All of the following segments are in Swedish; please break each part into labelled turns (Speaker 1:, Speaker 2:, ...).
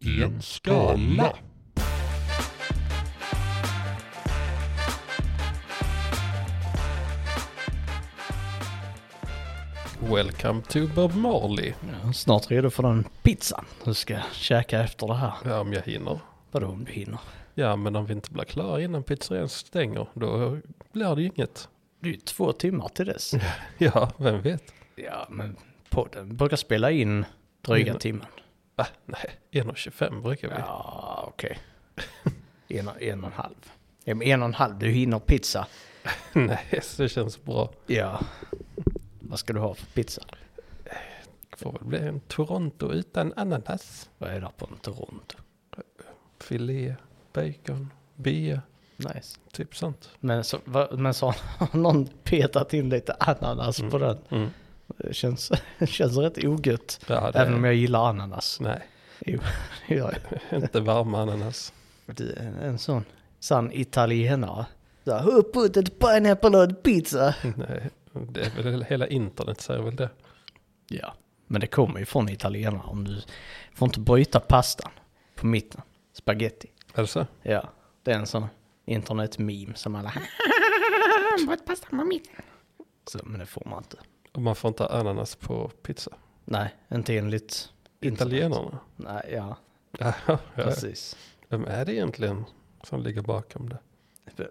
Speaker 1: i en skala. Welcome to Bob Marley.
Speaker 2: Ja, snart redo för den pizzan du ska käka efter det här.
Speaker 1: Ja, om jag hinner.
Speaker 2: Vadå om du hinner?
Speaker 1: Ja, men om vi inte blir klara innan pizzerian stänger, då blir det ju inget.
Speaker 2: Det är ju två timmar till dess.
Speaker 1: Ja, vem vet?
Speaker 2: Ja, men podden brukar spela in dryga
Speaker 1: Men-
Speaker 2: timmen.
Speaker 1: Ah, nej, 1.25 brukar vi.
Speaker 2: Ja, okej. En, och- en och en halv. Ja, men en och en halv, du hinner pizza.
Speaker 1: nej, så det känns bra.
Speaker 2: Ja. Vad ska du ha för pizza?
Speaker 1: Det får väl bli en Toronto utan ananas.
Speaker 2: Vad är det på en Toronto?
Speaker 1: Filé, bacon, bia,
Speaker 2: Nice.
Speaker 1: typ sånt.
Speaker 2: Men så, va, men så har någon petat in lite ananas på den.
Speaker 1: Mm.
Speaker 2: Det känns, känns rätt ogött.
Speaker 1: Ja, det,
Speaker 2: Även om jag gillar ananas.
Speaker 1: Nej,
Speaker 2: Jo, det gör jag.
Speaker 1: inte varma ananas.
Speaker 2: Du är en, en sån sann italienare. Så, Who put a pineapple on pizza?
Speaker 1: Nej, det är väl hela internet säger väl det.
Speaker 2: Ja, men det kommer ju från italienare. Om du får inte bryta pastan på mitten. Spaghetti.
Speaker 1: Alltså,
Speaker 2: Ja, det är en sån internetmeme som alla... Bryt pastan på mitten. Så, men det får man inte.
Speaker 1: och man får inte ha ananas på pizza.
Speaker 2: Nej, inte enligt... internet.
Speaker 1: Italienarna.
Speaker 2: Nej, ja,
Speaker 1: Ja, ja.
Speaker 2: precis.
Speaker 1: Vem är det egentligen som ligger bakom det?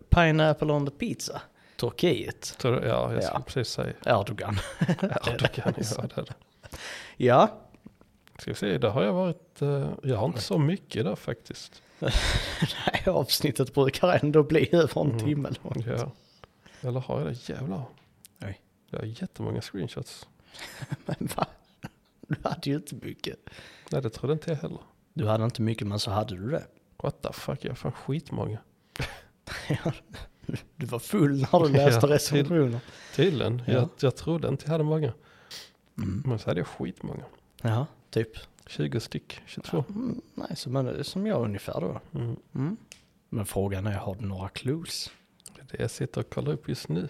Speaker 2: Pineapple on the pizza. Turkiet.
Speaker 1: Tror du, ja, jag skulle
Speaker 2: Ja.
Speaker 1: precis säga.
Speaker 2: Erdogan.
Speaker 1: Erdogan gör det.
Speaker 2: Ja,
Speaker 1: Ska vi se, där har jag varit, eh, jag har inte så mycket där faktiskt.
Speaker 2: Nej, avsnittet brukar ändå bli över en
Speaker 1: Mm.
Speaker 2: timme långt.
Speaker 1: Ja. Eller har jag det? Jävlar.
Speaker 2: Nej.
Speaker 1: Jag har jättemånga screenshots.
Speaker 2: Men va? Du hade ju inte mycket.
Speaker 1: Nej, det trodde inte jag heller.
Speaker 2: Du hade inte mycket, men så hade du det.
Speaker 1: What the fuck, jag har fan skitmånga.
Speaker 2: Du var full när du läste
Speaker 1: Ja,
Speaker 2: recensioner.
Speaker 1: Tydligen,
Speaker 2: Ja.
Speaker 1: jag, jag trodde inte jag hade många. Men så hade jag skitmånga.
Speaker 2: Mm. Ja, typ.
Speaker 1: 20 styck, 22.
Speaker 2: Mm, nej, så men det är som jag ungefär då.
Speaker 1: Mm.
Speaker 2: Men frågan är, har du några clues?
Speaker 1: Det är det jag sitter och kollar upp just nu.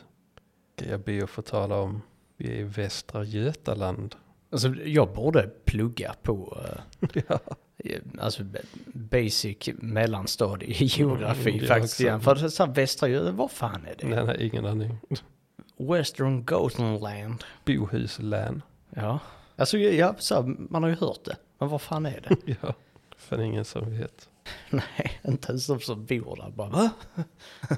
Speaker 1: Ska jag be att få tala om, vi är i Västra Götaland.
Speaker 2: Alltså, jag borde plugga på
Speaker 1: ja.
Speaker 2: eh, alltså, b- basic mellanstadie i geografi
Speaker 1: Mm, det
Speaker 2: faktiskt
Speaker 1: också.
Speaker 2: igen. För det är så här, västra Gö- vad fan är det?
Speaker 1: Nej, nej, ingen aning.
Speaker 2: Western Gotland.
Speaker 1: Bohuslän.
Speaker 2: Ja. Alltså ja, så här, man har ju hört det. Men vad fan är det?
Speaker 1: Ja, fan ingen som vet.
Speaker 2: nej, inte ens de som bor där bara va?
Speaker 1: Ja,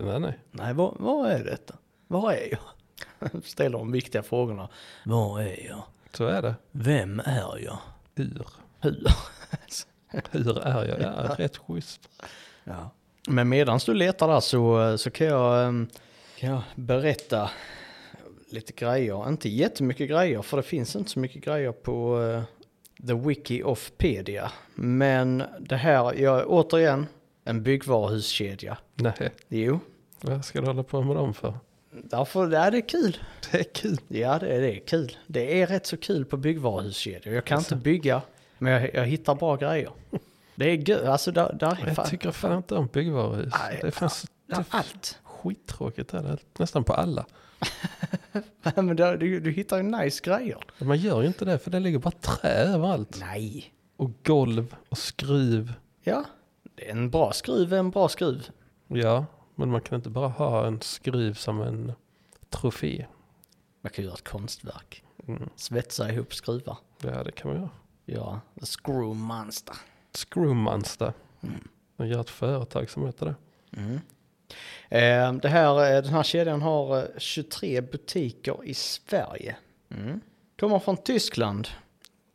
Speaker 1: nej, nej.
Speaker 2: Nej, vad, vad är detta? Vad är jag? Ställer de viktiga frågorna. Vad är jag?
Speaker 1: Så är det.
Speaker 2: Vem är jag?
Speaker 1: Hur?
Speaker 2: Hur?
Speaker 1: Hur är jag? Jag är rätt schysst.
Speaker 2: ja. Men medan du letar där så, så kan, jag, ehm, kan jag berätta lite grejer. Inte jättemycket grejer, för det finns inte så mycket grejer på eh, The Wiki of Pedia. Men det här, jag, återigen, en byggvaruhuskedja.
Speaker 1: Nej,
Speaker 2: Jo,
Speaker 1: vad ska du hålla på med dem för?
Speaker 2: därför ja, det är kul.
Speaker 1: Det är kul.
Speaker 2: Ja, det är, det är kul. Det är rätt så kul på byggvaruhuskedjor. Jag kan inte bygga, men jag, jag hittar bra grejer. Det är gött, alltså där, där är
Speaker 1: Jag
Speaker 2: fan
Speaker 1: tycker fan inte om byggvaruhus.
Speaker 2: Nej,
Speaker 1: Det är fan så- det
Speaker 2: ja,
Speaker 1: är
Speaker 2: allt.
Speaker 1: skittråkigt är det. Nästan på alla.
Speaker 2: Men där, du, du hittar ju nice grejer.
Speaker 1: Men Man gör ju inte det för det ligger bara trä överallt.
Speaker 2: Nej.
Speaker 1: Och golv och skruv.
Speaker 2: Ja, det är en bra skruv är en bra skruv.
Speaker 1: Ja, men man kan inte bara ha en skruv som en trofé.
Speaker 2: Man kan göra ett konstverk.
Speaker 1: Mm.
Speaker 2: Svetsa ihop skruvar.
Speaker 1: Ja, det kan man göra.
Speaker 2: Ja, the screw monster.
Speaker 1: Screwmonster. De gör ett företag som heter det.
Speaker 2: Mm. Eh, det här, eh, den här kedjan har eh, 23 butiker i Sverige. Mm. Kommer från Tyskland.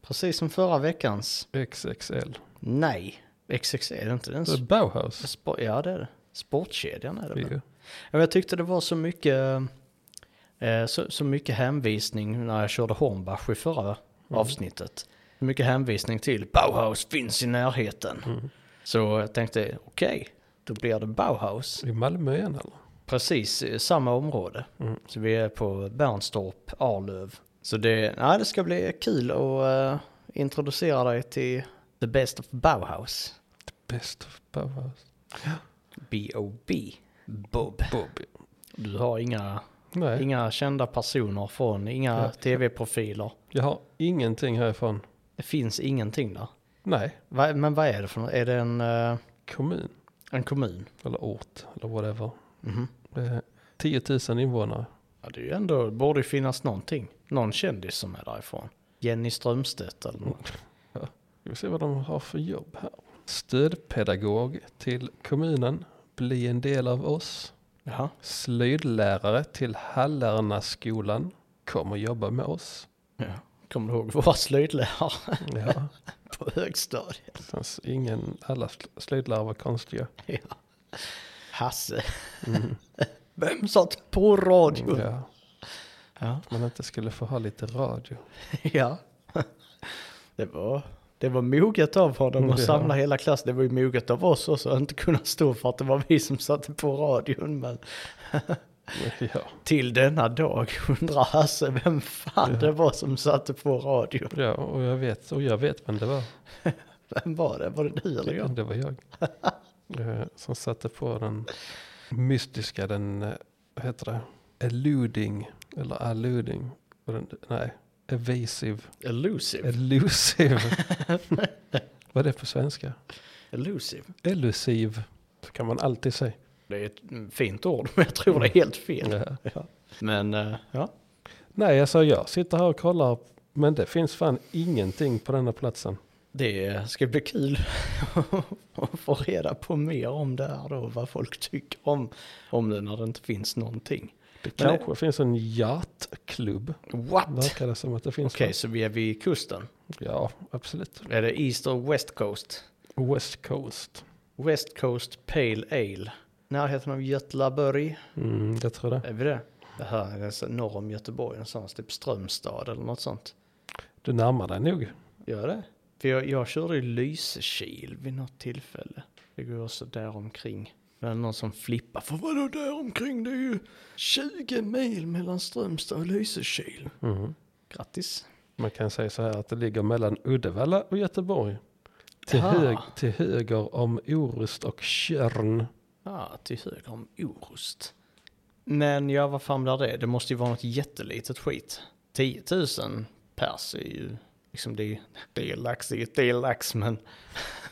Speaker 2: Precis som förra veckans.
Speaker 1: XXL.
Speaker 2: Nej, XXL är det inte. Det är en
Speaker 1: Det är Bauhaus.
Speaker 2: spo- ja, det är det. Sportkedjan är det väl?
Speaker 1: ju.
Speaker 2: Ja, men Jag tyckte det var så mycket, eh, så, så mycket hänvisning när jag körde Hornbach i förra Mm. avsnittet. Så mycket hänvisning till Bauhaus finns i närheten. Så jag tänkte okej, då blir det Bauhaus.
Speaker 1: I Malmö igen eller?
Speaker 2: Precis i samma område. Så vi är på Bernstorp, Arlöv. Så det, nej, det ska bli kul att eh, introducera dig till the best of Bauhaus.
Speaker 1: Best of Bauhaus.
Speaker 2: B.O.B. Bob.
Speaker 1: Bobby.
Speaker 2: Du har inga,
Speaker 1: Nej,
Speaker 2: inga kända personer från, inga
Speaker 1: Ja.
Speaker 2: tv-profiler.
Speaker 1: jag har ingenting härifrån.
Speaker 2: Det finns ingenting där.
Speaker 1: Nej,
Speaker 2: Vad- Men vad är det för något? Är det en, eh,
Speaker 1: kommun
Speaker 2: en kommun?
Speaker 1: eller ort eller whatever.
Speaker 2: Mhm.
Speaker 1: Det är 10 000 invånare.
Speaker 2: Ja, det är ju ändå, borde ju finnas någonting. Någon kändis som är därifrån. Jenny Strömstedt eller något.
Speaker 1: Ska vi se vad de har för jobb här. Stödpedagog till kommunen. Bli en del av oss.
Speaker 2: Jaha.
Speaker 1: Slöjdlärare till Hallärnaskolan. Kom och jobba med oss.
Speaker 2: Ja. Kommer du ihåg våra slöjdlärare
Speaker 1: Ja,
Speaker 2: på högstadiet?
Speaker 1: det fanns ingen, alla sl- slöjdlärare var konstiga. Mm.
Speaker 2: Ja. Hasse. Vem satt på radio?
Speaker 1: Ja,
Speaker 2: Ja.
Speaker 1: man inte skulle få ha lite radio.
Speaker 2: ja. Det var, det var moget av honom att
Speaker 1: Ja.
Speaker 2: samla hela klassen. Det var ju moget av oss också att inte kunna stå för att det var vi som satte på radion. Men
Speaker 1: Ja,
Speaker 2: till denna dag undrar Hasse vem fan
Speaker 1: Ja.
Speaker 2: det var som satte på radion.
Speaker 1: ja och, jag vet, och jag vet vem det var.
Speaker 2: Vem var det? Var det du eller jag?
Speaker 1: Det var jag. Eh, Som satte på den mystiska, den, eh, vad heter det, eluding, eller alluding, Och den, nej, evasive,
Speaker 2: Elusive.
Speaker 1: elusive. Vad är det på svenska?
Speaker 2: Elusive.
Speaker 1: Elusive, så kan man alltid säga.
Speaker 2: Det är ett mm, fint ord, men jag tror det är helt fel.
Speaker 1: Ja.
Speaker 2: Ja. Men eh, ja,
Speaker 1: Nej, alltså jag sitter här och kollar, men det finns fan ingenting på denna platsen.
Speaker 2: det ska bli kul att få reda på mer om det här då, vad folk tycker om, om det när det inte finns någonting.
Speaker 1: Det
Speaker 2: Men det-
Speaker 1: kanske finns en yachtklubb,
Speaker 2: What?
Speaker 1: verkar det som att det finns.
Speaker 2: Okej, så vi är vid kusten.
Speaker 1: Ja, absolut.
Speaker 2: Är det East och West Coast?
Speaker 1: West Coast.
Speaker 2: West Coast Pale Ale. Närheten av Götlaborg.
Speaker 1: Mm, jag tror det.
Speaker 2: Är vi det? Det här är alltså norr om Göteborg någonstans, typ Strömstad eller något sånt.
Speaker 1: Du närmar dig nog.
Speaker 2: Gör det? För jag, jag körde i Lysekil vid något tillfälle. Det går ju också där omkring. Det är någon som flippar. För vadå där omkring? Det är ju 20 mil mellan Strömstad och Lysekil.
Speaker 1: Mhm.
Speaker 2: Grattis.
Speaker 1: Man kan säga så här att det ligger mellan Uddevalla och Göteborg. Till,
Speaker 2: Ah.
Speaker 1: hög, till höger om Orust och Tjörn.
Speaker 2: Ah, till höger om Orust. Men ja, vad fan blir det? Det måste ju vara något jättelitet skit. 10 000 pers är ju liksom det, det är lax, det är ju- det är lax, men,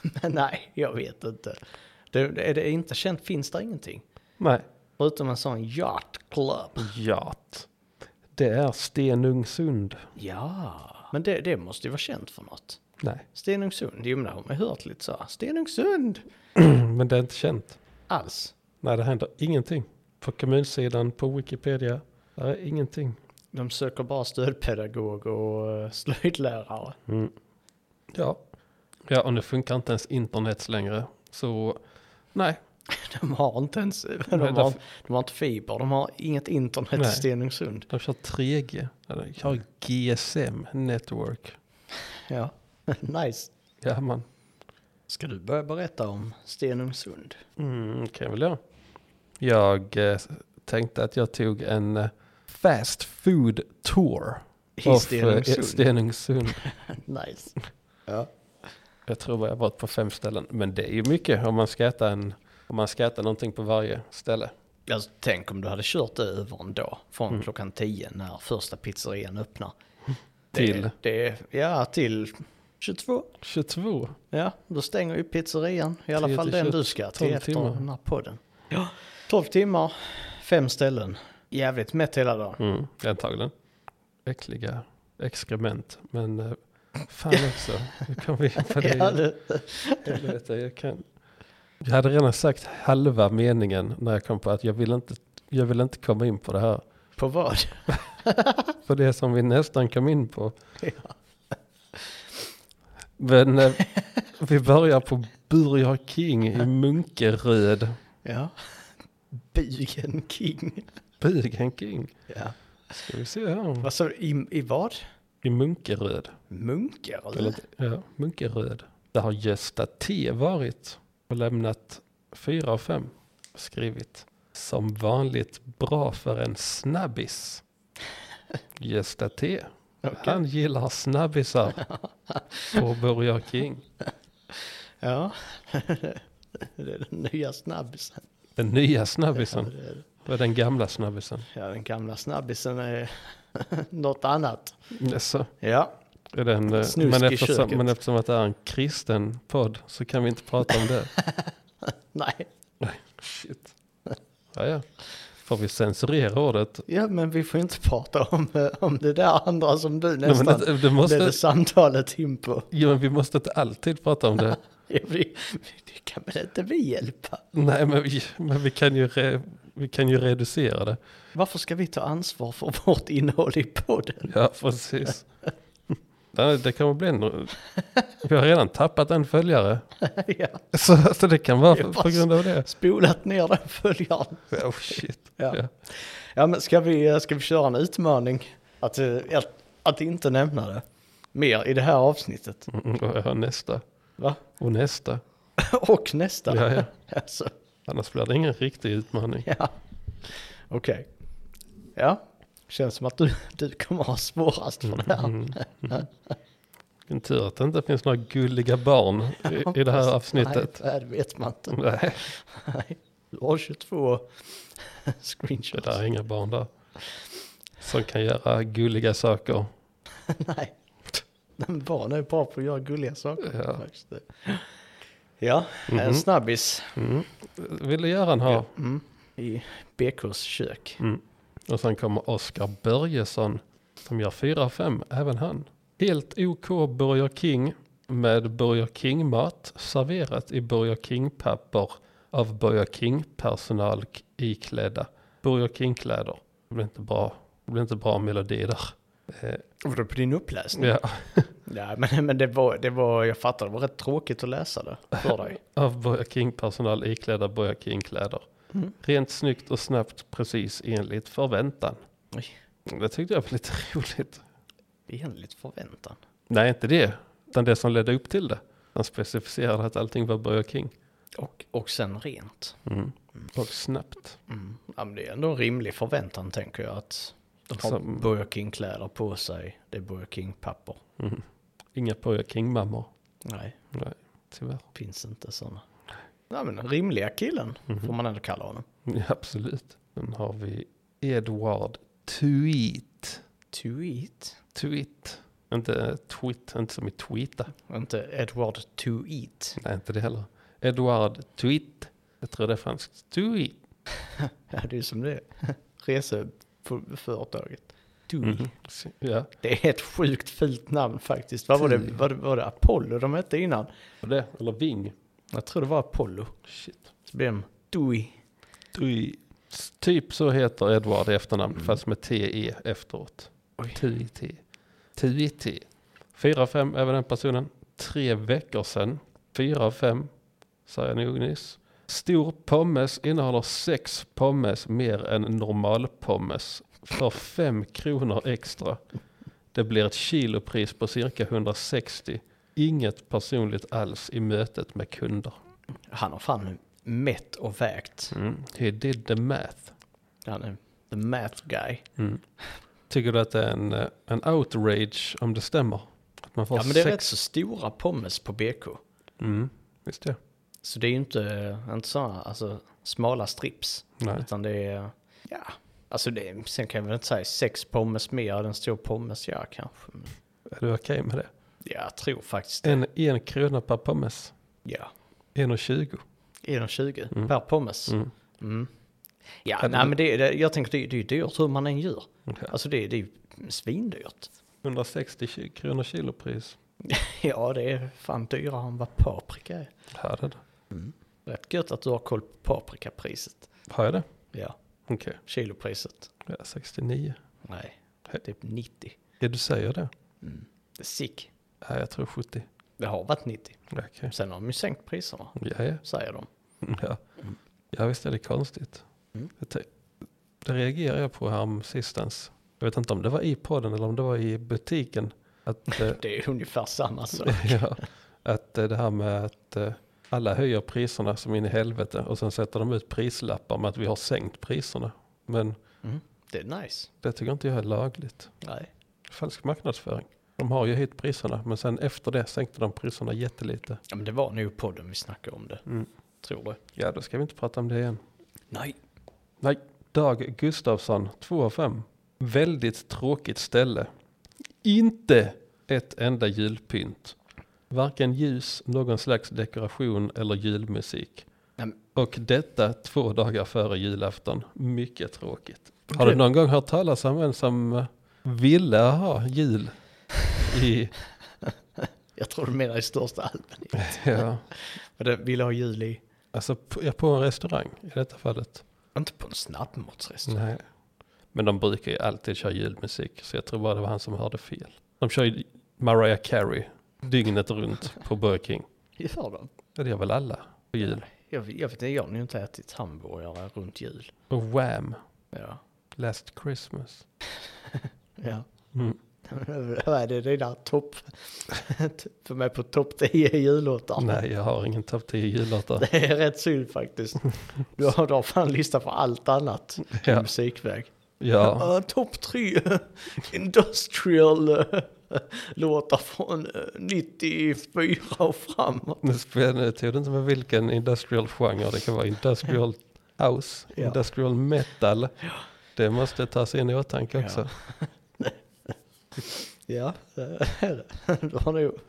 Speaker 2: men nej, jag vet inte. Det, är det inte känt finns det ingenting.
Speaker 1: Nej,
Speaker 2: Förutom en sån yacht club.
Speaker 1: Jat. Det är Stenungsund.
Speaker 2: Ja, men det, det måste ju vara känt för något.
Speaker 1: Nej,
Speaker 2: Stenungsund, jo men det har man ju hört lite så här. Stenungsund!
Speaker 1: men det är inte känt.
Speaker 2: Alls.
Speaker 1: Nej, det händer ingenting. På kommunsidan, på Wikipedia, där är ingenting.
Speaker 2: De söker bara stödpedagog och eh, slöjdlärare.
Speaker 1: Ja. ja, och nu funkar inte ens internet längre. Så nej,
Speaker 2: De har inte ens, de, har,
Speaker 1: Nej, därför-
Speaker 2: de har inte fiber, de har inget internet i
Speaker 1: Nej.
Speaker 2: Stenungsund.
Speaker 1: de kör 3G. De kör GSM Network.
Speaker 2: Ja, nice.
Speaker 1: Ja, man.
Speaker 2: Ska du börja berätta om Stenungsund?
Speaker 1: Mm, kan jag väl göra. Jag eh, tänkte att jag tog en eh, fast food tour.
Speaker 2: I
Speaker 1: of, eh,
Speaker 2: Stenungsund?
Speaker 1: Stenungsund.
Speaker 2: nice. Ja.
Speaker 1: Jag tror jag har varit på fem ställen. Men det är ju mycket om man ska äta, en, om man ska äta någonting på varje ställe.
Speaker 2: Alltså, tänk om du hade kört det över en dag, från
Speaker 1: Mm.
Speaker 2: klockan 10 när första pizzerian öppnar.
Speaker 1: Till?
Speaker 2: Det, det, ja, till 22.
Speaker 1: 22.
Speaker 2: Ja, då stänger ju pizzerian. I alla
Speaker 1: 10
Speaker 2: fall
Speaker 1: till
Speaker 2: den
Speaker 1: 21,
Speaker 2: du ska till
Speaker 1: 12
Speaker 2: efter
Speaker 1: timmar.
Speaker 2: den här podden. Ja. 12 timmar, fem ställen. Jävligt mätt hela dagen.
Speaker 1: Mm, antagligen. Äckliga exkrement. Men eh, fan också. Nu kom vi in på det.
Speaker 2: Ja,
Speaker 1: igen.
Speaker 2: det,
Speaker 1: Helvete, jag kan. Jag hade redan sagt halva meningen när jag kom på att jag vill inte, jag vill inte komma in på det här.
Speaker 2: på vad?
Speaker 1: För det som vi nästan kom in på. Men eh, vi börjar på Burger King i Munkeröd.
Speaker 2: Ja. Bugen King.
Speaker 1: Burger King.
Speaker 2: Ja.
Speaker 1: Ska vi se här.
Speaker 2: Vad sa du, i, i vad?
Speaker 1: I Munkeröd.
Speaker 2: Munkar?
Speaker 1: Eller,
Speaker 2: Eller?
Speaker 1: ja, Munkeröd. Där har Gösta T varit och lämnat fyra av fem. Skrivit. Som vanligt bra för en snabbis. Gösta T. Han gillar snabbisar på Burger King.
Speaker 2: Ja. det är den nya snabbisen.
Speaker 1: Den nya
Speaker 2: Ja,
Speaker 1: snabbisen.
Speaker 2: det är det.
Speaker 1: Vad är den gamla snabbisen?
Speaker 2: ja, den gamla snabbisen är något annat.
Speaker 1: Jaså?
Speaker 2: Ja.
Speaker 1: Är det en, eh,
Speaker 2: Snusk
Speaker 1: men,
Speaker 2: i köket.
Speaker 1: eftersom, men eftersom att det är en kristen podd så kan vi inte prata om det.
Speaker 2: Nej.
Speaker 1: Shit. Ja, ja. Får vi censurera ordet?
Speaker 2: Ja, men vi får inte prata om, eh, om det där andra som du
Speaker 1: Nej, men
Speaker 2: nästan
Speaker 1: det, det måste,
Speaker 2: ledde samtalet in på.
Speaker 1: jo, men vi måste inte alltid prata om det.
Speaker 2: Ja, vi, det kan väl inte vi hjälpa?
Speaker 1: Nej, men vi, men vi, kan, ju re, vi kan ju reducera det.
Speaker 2: Varför ska vi ta ansvar för vårt innehåll i podden?
Speaker 1: Ja, precis. Nej, Det kan bli en... Vi har redan tappat en följare.
Speaker 2: ja,
Speaker 1: Så, så det kan vara
Speaker 2: Ja,
Speaker 1: på, på
Speaker 2: fast-
Speaker 1: grund av det.
Speaker 2: spolat ner den följaren.
Speaker 1: Oh, shit.
Speaker 2: Ja.
Speaker 1: Ja.
Speaker 2: Ja, men ska vi, eh, ska vi köra en utmaning? Att, eh, att, att inte nämna det mer i det här avsnittet.
Speaker 1: Mm, och jag har nästa.
Speaker 2: Va?
Speaker 1: Och nästa.
Speaker 2: Och nästa.
Speaker 1: Ja, ja.
Speaker 2: Alltså,
Speaker 1: Annars blir det ingen riktig utmaning.
Speaker 2: ja. Okej. Ja, känns som att du, du kommer ha svårast för det här.
Speaker 1: Mm. Mm. Vilken tur att det inte finns några gulliga barn i, i det här avsnittet.
Speaker 2: Mm.
Speaker 1: Mm.
Speaker 2: Nej, det vet man inte.
Speaker 1: Nej,
Speaker 2: Nej. Du har 22
Speaker 1: det
Speaker 2: screenshots.
Speaker 1: där är inga barn där. Som kan göra gulliga saker.
Speaker 2: Nej. Men barn är bra på att göra gulliga saker.
Speaker 1: Ja.
Speaker 2: faktiskt. Ja, en
Speaker 1: Mhm.
Speaker 2: snabbis
Speaker 1: Mm. Ville Göran ha.
Speaker 2: mm. i BKs kök.
Speaker 1: Mm. Och sen kommer Oskar Börjesson som gör 4 av 5, även han. Helt OK Burger King med Burger King-mat serverat i Burger King-papper av Burger King-personal k- iklädda Burger King-kläder. Det blir inte bra, det blir inte bra melodi där. Eh,
Speaker 2: Vadå på din uppläsning?
Speaker 1: ja.
Speaker 2: Ja, men, men det, var, det var, jag fattar, det var rätt tråkigt att läsa det för dig.
Speaker 1: Av Burger King-personal iklädda Burger King-kläder.
Speaker 2: Mm.
Speaker 1: Rent, snyggt och snabbt, precis enligt förväntan.
Speaker 2: Oj.
Speaker 1: Det tyckte jag var lite roligt.
Speaker 2: Enligt förväntan.
Speaker 1: Nej, inte det. Utan det som ledde upp till det. Han specificerade att allting var Burger King.
Speaker 2: Och, och sen rent.
Speaker 1: Och snabbt.
Speaker 2: Mm. Ja, men det är ändå en rimlig förväntan tänker jag att de har
Speaker 1: Som-
Speaker 2: Burger King-kläder på sig. Det är Burger King-papper.
Speaker 1: Mm. Inga Burger King-mammor.
Speaker 2: Nej,
Speaker 1: Nej, tyvärr.
Speaker 2: finns inte sådana. Ja, men den rimliga killen får man ändå kalla honom.
Speaker 1: Ja, absolut. Sen har vi Edward Tweet.
Speaker 2: To-eat.
Speaker 1: Tweet. Inte eh, tweet, inte som i tweeta.
Speaker 2: Inte Edward to-eat.
Speaker 1: Nej, inte det heller. Edward Tweet. Jag tror det är franskt. Tweet.
Speaker 2: Ja, det är som det är. Reseföretaget. To-eat.
Speaker 1: Ja,
Speaker 2: Det är ett sjukt fult namn faktiskt. Vad var det,
Speaker 1: Fy.
Speaker 2: var det, var det Apollo de hette innan?
Speaker 1: och det. Eller Ving.
Speaker 2: Jag tror det var Apollo.
Speaker 1: Shit.
Speaker 2: Så blev de Dewey.
Speaker 1: Tweet. Typ så heter Edward i efternamn, fast med TE efteråt.
Speaker 2: Oj.
Speaker 1: TIT. TIT. 4 av 5 även den personen. Tre veckor sedan. 4 av 5. Sa jag nog nyss. Stor pommes innehåller sex pommes mer än normal pommes. För 5 kronor extra. Det blir ett kilopris på cirka 160. Inget personligt alls i mötet med kunder.
Speaker 2: Han har fan mätt och vägt.
Speaker 1: Mm. He did the math.
Speaker 2: Han är the math guy.
Speaker 1: Tycker du att det är en, eh, en outrage om det stämmer? Att man får
Speaker 2: Ja men det är
Speaker 1: sex...
Speaker 2: rätt så stora pommes på BK.
Speaker 1: Mm. Visst ja.
Speaker 2: Så det är ju inte, inte sådana alltså, smala strips.
Speaker 1: Nej.
Speaker 2: Utan det är, ja. Alltså det är, sen kan jag väl inte säga sex pommes mer än en stor pommes, ja kanske. Men
Speaker 1: Är du okej med det?
Speaker 2: Ja, jag tror faktiskt det.
Speaker 1: En, en krona per pommes.
Speaker 2: Ja.
Speaker 1: 1,20.
Speaker 2: 1,20
Speaker 1: Mm.
Speaker 2: per pommes.
Speaker 1: Mm.
Speaker 2: Mm. Ja,
Speaker 1: Ja,
Speaker 2: nej,
Speaker 1: men-
Speaker 2: men det, det, jag tänker det, det är ju dyrt hur man än gör.
Speaker 1: Ja.
Speaker 2: Alltså det, det är ju svindyrt.
Speaker 1: 160 ki- kronor kilopris.
Speaker 2: Ja, det är fan dyrare än vad paprika är.
Speaker 1: Här är det.
Speaker 2: Rätt gött att du har koll på paprikapriset.
Speaker 1: Har jag det?
Speaker 2: Ja,
Speaker 1: Okej.
Speaker 2: kilopriset.
Speaker 1: Ja, 69.
Speaker 2: Nej, typ 90.
Speaker 1: Ja, du säger det.
Speaker 2: Det är sick.
Speaker 1: Ja, jag tror 70.
Speaker 2: Det har varit 90.
Speaker 1: Ja, Okej.
Speaker 2: Sen har de ju sänkt priserna,
Speaker 1: Ja, ja. Mm,
Speaker 2: säger de.
Speaker 1: Ja. ja, visst är det konstigt. Jag te- Det reagerar jag på här sistens. Jag vet inte om det var i podden eller om det var i butiken. Att, eh,
Speaker 2: Det är ungefär samma sak.
Speaker 1: ja, att eh, det här med att eh, alla höjer priserna som in i helvete och sen sätter de ut prislappar med att vi har sänkt priserna. Men
Speaker 2: Mm. Det är nice.
Speaker 1: det tycker inte jag är lagligt.
Speaker 2: Nej.
Speaker 1: Falsk marknadsföring. De har ju höjt priserna men sen efter det sänkte de priserna jättelite.
Speaker 2: Ja, men det var nog podden vi snackade om det.
Speaker 1: Mm.
Speaker 2: Tror du?
Speaker 1: Ja, då ska vi inte prata om det igen.
Speaker 2: Nej.
Speaker 1: Nej, Dag Gustafsson, 2 av 5. Väldigt tråkigt ställe. Inte ett enda julpynt. Varken ljus, någon slags dekoration eller julmusik.
Speaker 2: Nej, men-
Speaker 1: Och detta två dagar före julafton. Mycket tråkigt. Har
Speaker 2: Okej.
Speaker 1: du någon gång hört talas om en som eh, ville ha jul? I,
Speaker 2: Jag tror du menar i största allmänhet.
Speaker 1: ja,
Speaker 2: Men det vill ha jul i...
Speaker 1: alltså på, ja, på en restaurang i detta fallet.
Speaker 2: Inte på en snabbmatsrestaurang.
Speaker 1: Nej. Men de brukar ju alltid köra julmusik, så jag tror bara det var han som hörde fel. De kör ju Mariah Carey dygnet runt på Burger King.
Speaker 2: Gör de?
Speaker 1: Ja, Det gör väl alla på jul.
Speaker 2: Jag, vet- jag vet inte, jag har nog inte ätit hamburgare runt jul.
Speaker 1: Och Wham!
Speaker 2: Ja.
Speaker 1: Last Christmas.
Speaker 2: ja.
Speaker 1: Mm.
Speaker 2: Vad är det dina topp... för mig på topp 10 jullåtar?
Speaker 1: Nej, jag har ingen topp 10 jullåtar.
Speaker 2: Det är rätt synd faktiskt. Du har, du har fan lista på allt annat i
Speaker 1: Ja,
Speaker 2: musikväg.
Speaker 1: ja.
Speaker 2: Uh, Topp tre eh, industrial eh, låtar från eh, 94 och framåt.
Speaker 1: Nu spelar- nu tog det inte med vilken industrial genre. Det kan vara industrial house,
Speaker 2: Ja.
Speaker 1: industrial metal. Det måste tas in i åtanke
Speaker 2: Ja.
Speaker 1: också.
Speaker 2: Ja, eh, du har nog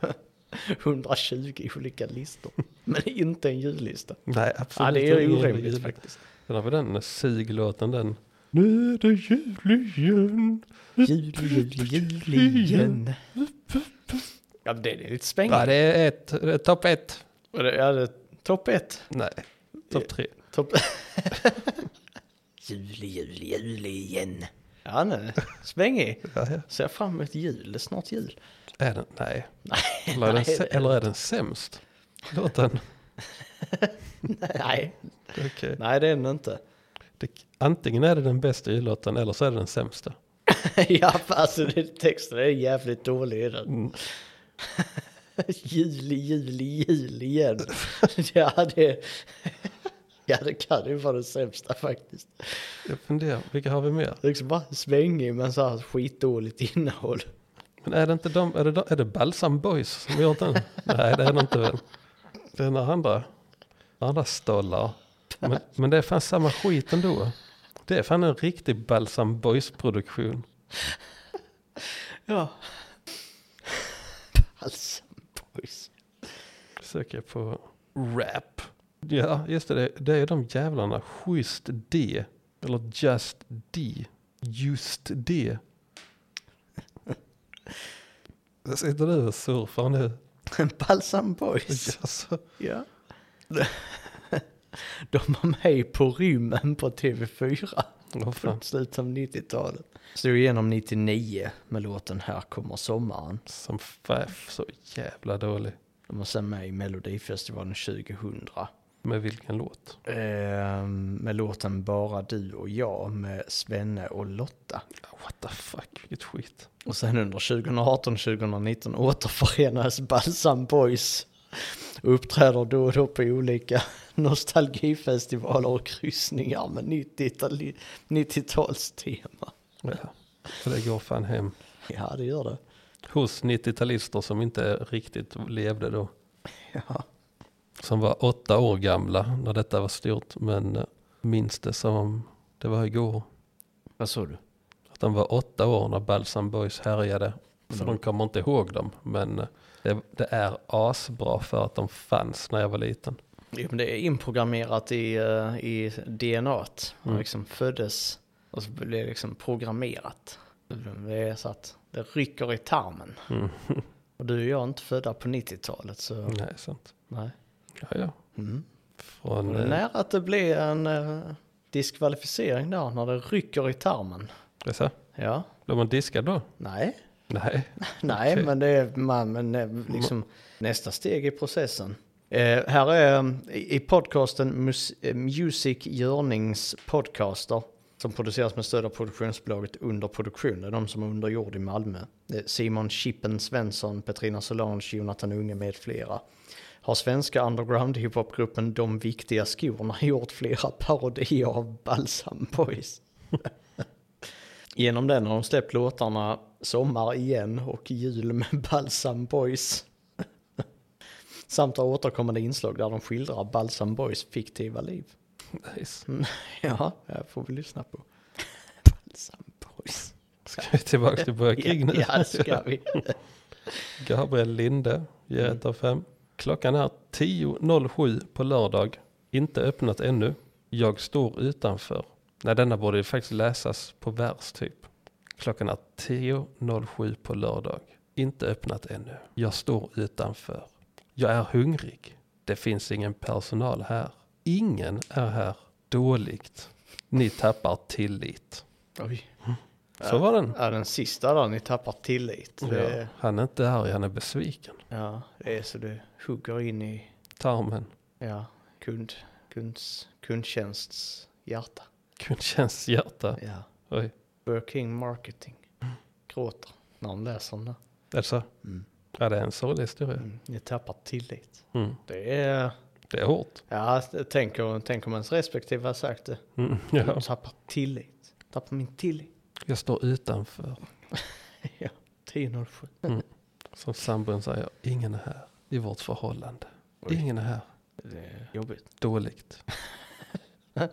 Speaker 2: 120 olika listor. Men inte en jullista.
Speaker 1: Nej,
Speaker 2: Ja,
Speaker 1: absolut
Speaker 2: det är
Speaker 1: ingen
Speaker 2: orimligt
Speaker 1: jul.
Speaker 2: faktiskt.
Speaker 1: Sen har vi den suglåten den. Nu är det jul igen.
Speaker 2: Jul, jul, jul igen. Ja, men det är lite
Speaker 1: Ja,
Speaker 2: spännande.
Speaker 1: det är ett, det är topp ett.
Speaker 2: Ja, det är topp ett.
Speaker 1: Nej, topp tre.
Speaker 2: Topp... juli, juli, juli igen. Ja, nej. Svängig.
Speaker 1: Ja, ja.
Speaker 2: Ser fram emot jul. Det är snart jul.
Speaker 1: Är den? Nej. Eller är den,
Speaker 2: nej,
Speaker 1: sä-
Speaker 2: det-
Speaker 1: eller är den sämst? Låten?
Speaker 2: Nej,
Speaker 1: Okej.
Speaker 2: nej det är den inte.
Speaker 1: Det- Antingen är det den bästa jullåten eller så är det den sämsta.
Speaker 2: ja, för alltså det, texten är jävligt dålig i den.
Speaker 1: Mm.
Speaker 2: juli, juli, juli igen. ja, det... ja, det kan ju vara det sämsta faktiskt.
Speaker 1: Jag funderar, vilka har vi mer?
Speaker 2: Det är liksom bara svängig men så här skitdåligt innehåll.
Speaker 1: Men är det inte de, är det, de, är det Balsam Boys som har gjort den? Nej, det är det inte väl. Det är några andra, andra stollar. Men, men det är fan samma skit ändå. Det är fan en riktig Balsam Boys-produktion.
Speaker 2: Ja. Balsam boys.
Speaker 1: Söker jag på rap. Ja, just det. det- Det är de jävlarna. Schysst D. Eller Just D. Just D. Där Sitter du och surfar nu?
Speaker 2: Balsam boys.
Speaker 1: Jaså?
Speaker 2: Ja. De var med på rymmen på TV4
Speaker 1: Vad fan?
Speaker 2: från slutet av 90-talet. Slog igenom 99 med låten Här kommer sommaren.
Speaker 1: Som faff, så jävla dålig.
Speaker 2: De var sen med i Melodifestivalen 2000.
Speaker 1: Med vilken låt?
Speaker 2: Ehm, med låten Bara du och jag med Svenne och Lotta.
Speaker 1: What the fuck, vilket skit.
Speaker 2: Och sen under 2018-2019 återförenades Balsam Boys och uppträder då och då på olika nostalgifestivaler och kryssningar med 90-tali- 90-talstema.
Speaker 1: Ja. Så det går fan hem.
Speaker 2: Ja, det gör det.
Speaker 1: Hos 90-talister som inte riktigt levde då.
Speaker 2: Ja.
Speaker 1: Som var åtta år gamla när detta var stort. Men eh, minns det som det var igår.
Speaker 2: Vad sa du?
Speaker 1: Att de var åtta år när Balsam Boys härjade. Så
Speaker 2: Mm.
Speaker 1: de kommer inte ihåg dem. Men eh, det, det är asbra för att de fanns när jag var liten.
Speaker 2: Jo, men det är inprogrammerat i, eh, i DNAt. Man
Speaker 1: Mm.
Speaker 2: liksom föddes och så blev det liksom programmerat. Det är så att det rycker i tarmen.
Speaker 1: Mm.
Speaker 2: Och du och jag är inte födda på 90-talet så
Speaker 1: Nej, sant.
Speaker 2: nej.
Speaker 1: Ja, ja.
Speaker 2: Mm.
Speaker 1: Från,
Speaker 2: Var det
Speaker 1: eh,
Speaker 2: nära att det blev en eh, diskvalificering där när det rycker i tarmen?
Speaker 1: Jaså?
Speaker 2: Ja,
Speaker 1: blev man diskad då?
Speaker 2: nej,
Speaker 1: Nej.
Speaker 2: nej,
Speaker 1: Okej.
Speaker 2: men det är man, men eh, liksom nästa steg i processen. Eh, här är eh, i i podcasten Mus- eh, Music Görnings podcaster som produceras med stöd av produktionsbolaget Under Produktion. Det är de som är under jord i Malmö. Det är Simon Chippen Svensson, Petrina Solange, Jonathan Unge med flera. Har svenska underground hiphopgruppen De Viktiga Skorna gjort flera parodier av Balsam Boys. Genom den har de släppt låtarna Sommar igen och Jul med Balsam Boys. Samt har återkommande inslag där de skildrar Balsam Boys fiktiva liv.
Speaker 1: Nice.
Speaker 2: Ja, det får vi lyssna på. Balsam Boys.
Speaker 1: Ska vi tillbaka till Burger King nu?
Speaker 2: Ja, det ska vi.
Speaker 1: Gabriel Linde ger
Speaker 2: Mm.
Speaker 1: ett av fem. Klockan är 10.07 på lördag. Inte öppnat ännu. Jag står utanför. Nej, denna borde ju faktiskt läsas på vers typ. Klockan är 10.07 på lördag. Inte öppnat ännu. Jag står utanför. Jag är hungrig. Det finns ingen personal här. Ingen är här. Dåligt. Ni tappar tillit.
Speaker 2: Oj.
Speaker 1: Så var den.
Speaker 2: Ja, den sista då, ni tappar tillit.
Speaker 1: Ja,
Speaker 2: Det,
Speaker 1: han är inte arg, han är besviken.
Speaker 2: ja, det är så du hugger in i
Speaker 1: Tarmen.
Speaker 2: ja, kund, kunds, kundtjänsts hjärta.
Speaker 1: Kundtjänsts hjärta.
Speaker 2: Ja.
Speaker 1: Oj.
Speaker 2: Burger King Marketing. Gråter när de läser den där.
Speaker 1: Alltså,
Speaker 2: Mm.
Speaker 1: ja, det är en sorglig historia.
Speaker 2: Mm, Ni tappar tillit.
Speaker 1: Mm.
Speaker 2: Det är...
Speaker 1: Det är hårt.
Speaker 2: Ja, tänk, om- tänk om ens respektive har sagt det.
Speaker 1: Mm. Ja.
Speaker 2: De tappar tillit. Tappar min tillit.
Speaker 1: Jag står utanför.
Speaker 2: Ja, 10.07.
Speaker 1: Som sambon säger, ingen är här i vårt förhållande.
Speaker 2: Oj.
Speaker 1: Ingen är här.
Speaker 2: Det är jobbigt.
Speaker 1: Dåligt.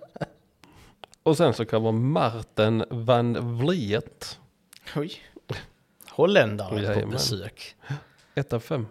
Speaker 1: Och sen så kommer Martin van Vliet.
Speaker 2: Oj. Holländare
Speaker 1: Jajamän.
Speaker 2: på besök.
Speaker 1: ett av fem.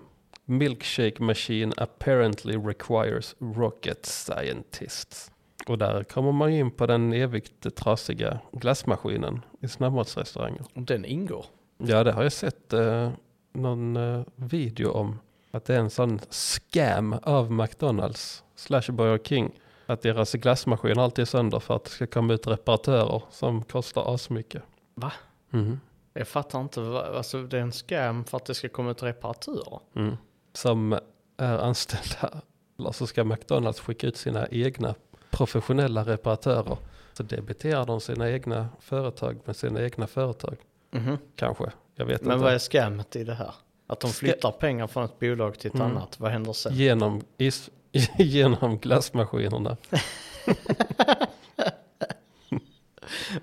Speaker 1: Milkshake machine apparently requires rocket scientists. Och där kommer man in på den evigt trasiga glassmaskinen i snabbmatsrestauranger.
Speaker 2: Om den ingår.
Speaker 1: Ja, det har jag sett eh, någon eh, video om. Att det är en sån scam av McDonalds slash Burger King. Att deras glassmaskin alltid är sönder för att det ska komma ut reparatörer som kostar asmycket.
Speaker 2: Va?
Speaker 1: Mhm.
Speaker 2: Jag fattar inte. vad- Alltså, det är en scam för att det ska komma ut reparatörer.
Speaker 1: Mm. Som är anställda. Eller så ska McDonalds skicka ut sina egna professionella reparatörer. Så debiterar de sina egna företag med sina egna företag.
Speaker 2: Mhm.
Speaker 1: Kanske. Jag vet
Speaker 2: Men
Speaker 1: inte.
Speaker 2: vad är scammet i det här? Att de
Speaker 1: Ska-
Speaker 2: flyttar pengar från ett bolag till ett
Speaker 1: Mm.
Speaker 2: annat. Vad händer sen?
Speaker 1: Genom, is, genom glassmaskinerna.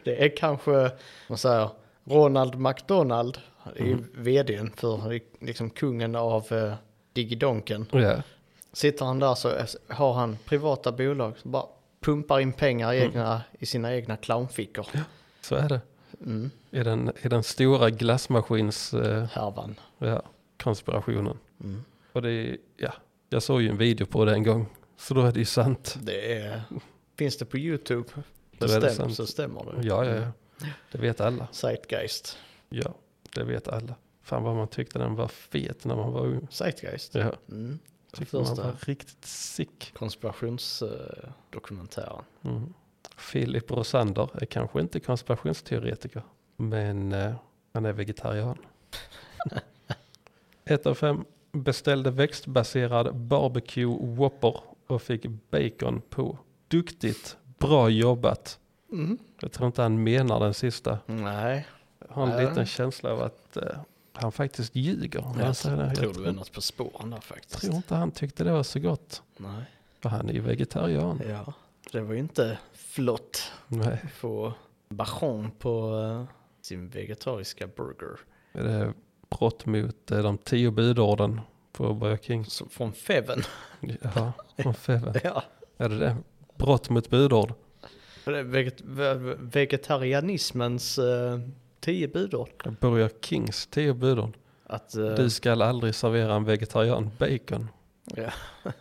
Speaker 2: Det är kanske, man säger, Ronald McDonald är
Speaker 1: Mm.
Speaker 2: ju vdn för liksom kungen av eh, Digidonken.
Speaker 1: Ja.
Speaker 2: Sitter han där så är- har han privata bolag som bara pumpar in pengar
Speaker 1: Mm.
Speaker 2: i, egna, i sina egna clownfickor.
Speaker 1: Så är det.
Speaker 2: Mm.
Speaker 1: I den, i den stora glassmaskins eh,
Speaker 2: Härvan.
Speaker 1: ja, konspirationen.
Speaker 2: Mm.
Speaker 1: Och det är, ja, jag såg ju en video på det en gång. Så då är det ju sant.
Speaker 2: Det är, finns det på YouTube
Speaker 1: Då
Speaker 2: så,
Speaker 1: är det
Speaker 2: stäm,
Speaker 1: sant.
Speaker 2: så stämmer det.
Speaker 1: Ja, ja, ja. Det vet alla.
Speaker 2: Zeitgeist.
Speaker 1: Ja, det vet alla. Fan vad man tyckte den var fet när man var ung.
Speaker 2: Zeitgeist.
Speaker 1: Ja,
Speaker 2: Mm.
Speaker 1: tyckte man
Speaker 2: Första. eh,
Speaker 1: var riktigt sick.
Speaker 2: Konspirationsdokumentären.
Speaker 1: Mm. Philip Rosander är kanske inte konspirationsteoretiker, men eh, han är vegetarian. Ett av fem beställde växtbaserad barbecue whopper och fick bacon på. Duktigt, bra jobbat.
Speaker 2: Mm.
Speaker 1: Jag tror inte han menar den sista.
Speaker 2: Nej,
Speaker 1: Jag har en
Speaker 2: Nej.
Speaker 1: liten känsla av att eh, han faktiskt ljuger. om han
Speaker 2: jag
Speaker 1: säger det.
Speaker 2: tror
Speaker 1: jag
Speaker 2: du är något på spåren där faktiskt.
Speaker 1: tror inte han tyckte det var så gott.
Speaker 2: Nej.
Speaker 1: För han är ju vegetarian.
Speaker 2: Ja, det var ju inte flott
Speaker 1: Nej,
Speaker 2: att få bajon på eh, sin vegetariska burger.
Speaker 1: det är brott mot eh, de tio budorden på Burger King.
Speaker 2: Så från Feven.
Speaker 1: Ja, från Feven.
Speaker 2: ja.
Speaker 1: Är det det? Brott mot budord?
Speaker 2: Det är veget- ve- vegetarianismens eh, tio budord.
Speaker 1: Burger Kings tio budord.
Speaker 2: Att, eh,
Speaker 1: Du ska aldrig servera en vegetarian bacon.
Speaker 2: ja.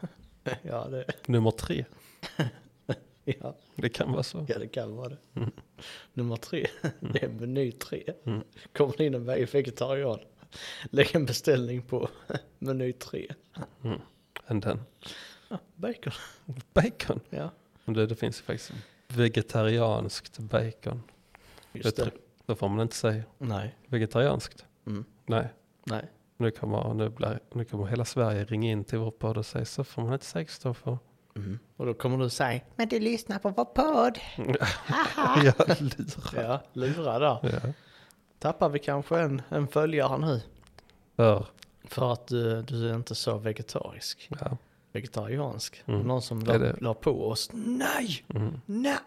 Speaker 2: ja, det,
Speaker 1: Nummer tre.
Speaker 2: ja,
Speaker 1: Det kan vara så.
Speaker 2: ja, det kan vara det.
Speaker 1: Mm.
Speaker 2: Nummer tre, det är meny tre.
Speaker 1: Mm.
Speaker 2: Kommer det in en ve- vegetarian, lägg en beställning på meny tre.
Speaker 1: Än den.
Speaker 2: Bacon,
Speaker 1: Bacon?
Speaker 2: ja.
Speaker 1: Det, det finns ju faktiskt vegetarianskt bacon.
Speaker 2: Just
Speaker 1: Det
Speaker 2: det.
Speaker 1: tr- Det får man inte säga.
Speaker 2: Nej,
Speaker 1: Vegetarianskt?
Speaker 2: Mm.
Speaker 1: Nej.
Speaker 2: nej.
Speaker 1: Nu kommer, nu, blir, nu kommer hela Sverige ringa in till vår podd och säga så får man inte säga stå för. Mm.
Speaker 2: Och då kommer du säga,
Speaker 3: Men du lyssnar på vår podd.
Speaker 1: Jag lurar.
Speaker 2: Ja, lura där.
Speaker 1: Ja.
Speaker 2: Tappar vi kanske en, en följare nu.
Speaker 1: För,
Speaker 2: För att du, du är inte så vegetarisk.
Speaker 1: ja.
Speaker 2: Vegetariansk.
Speaker 1: Mm.
Speaker 2: Någon som
Speaker 1: Det är
Speaker 2: la,
Speaker 1: det.
Speaker 2: la på oss. Nej!
Speaker 1: Mm.
Speaker 2: Nej!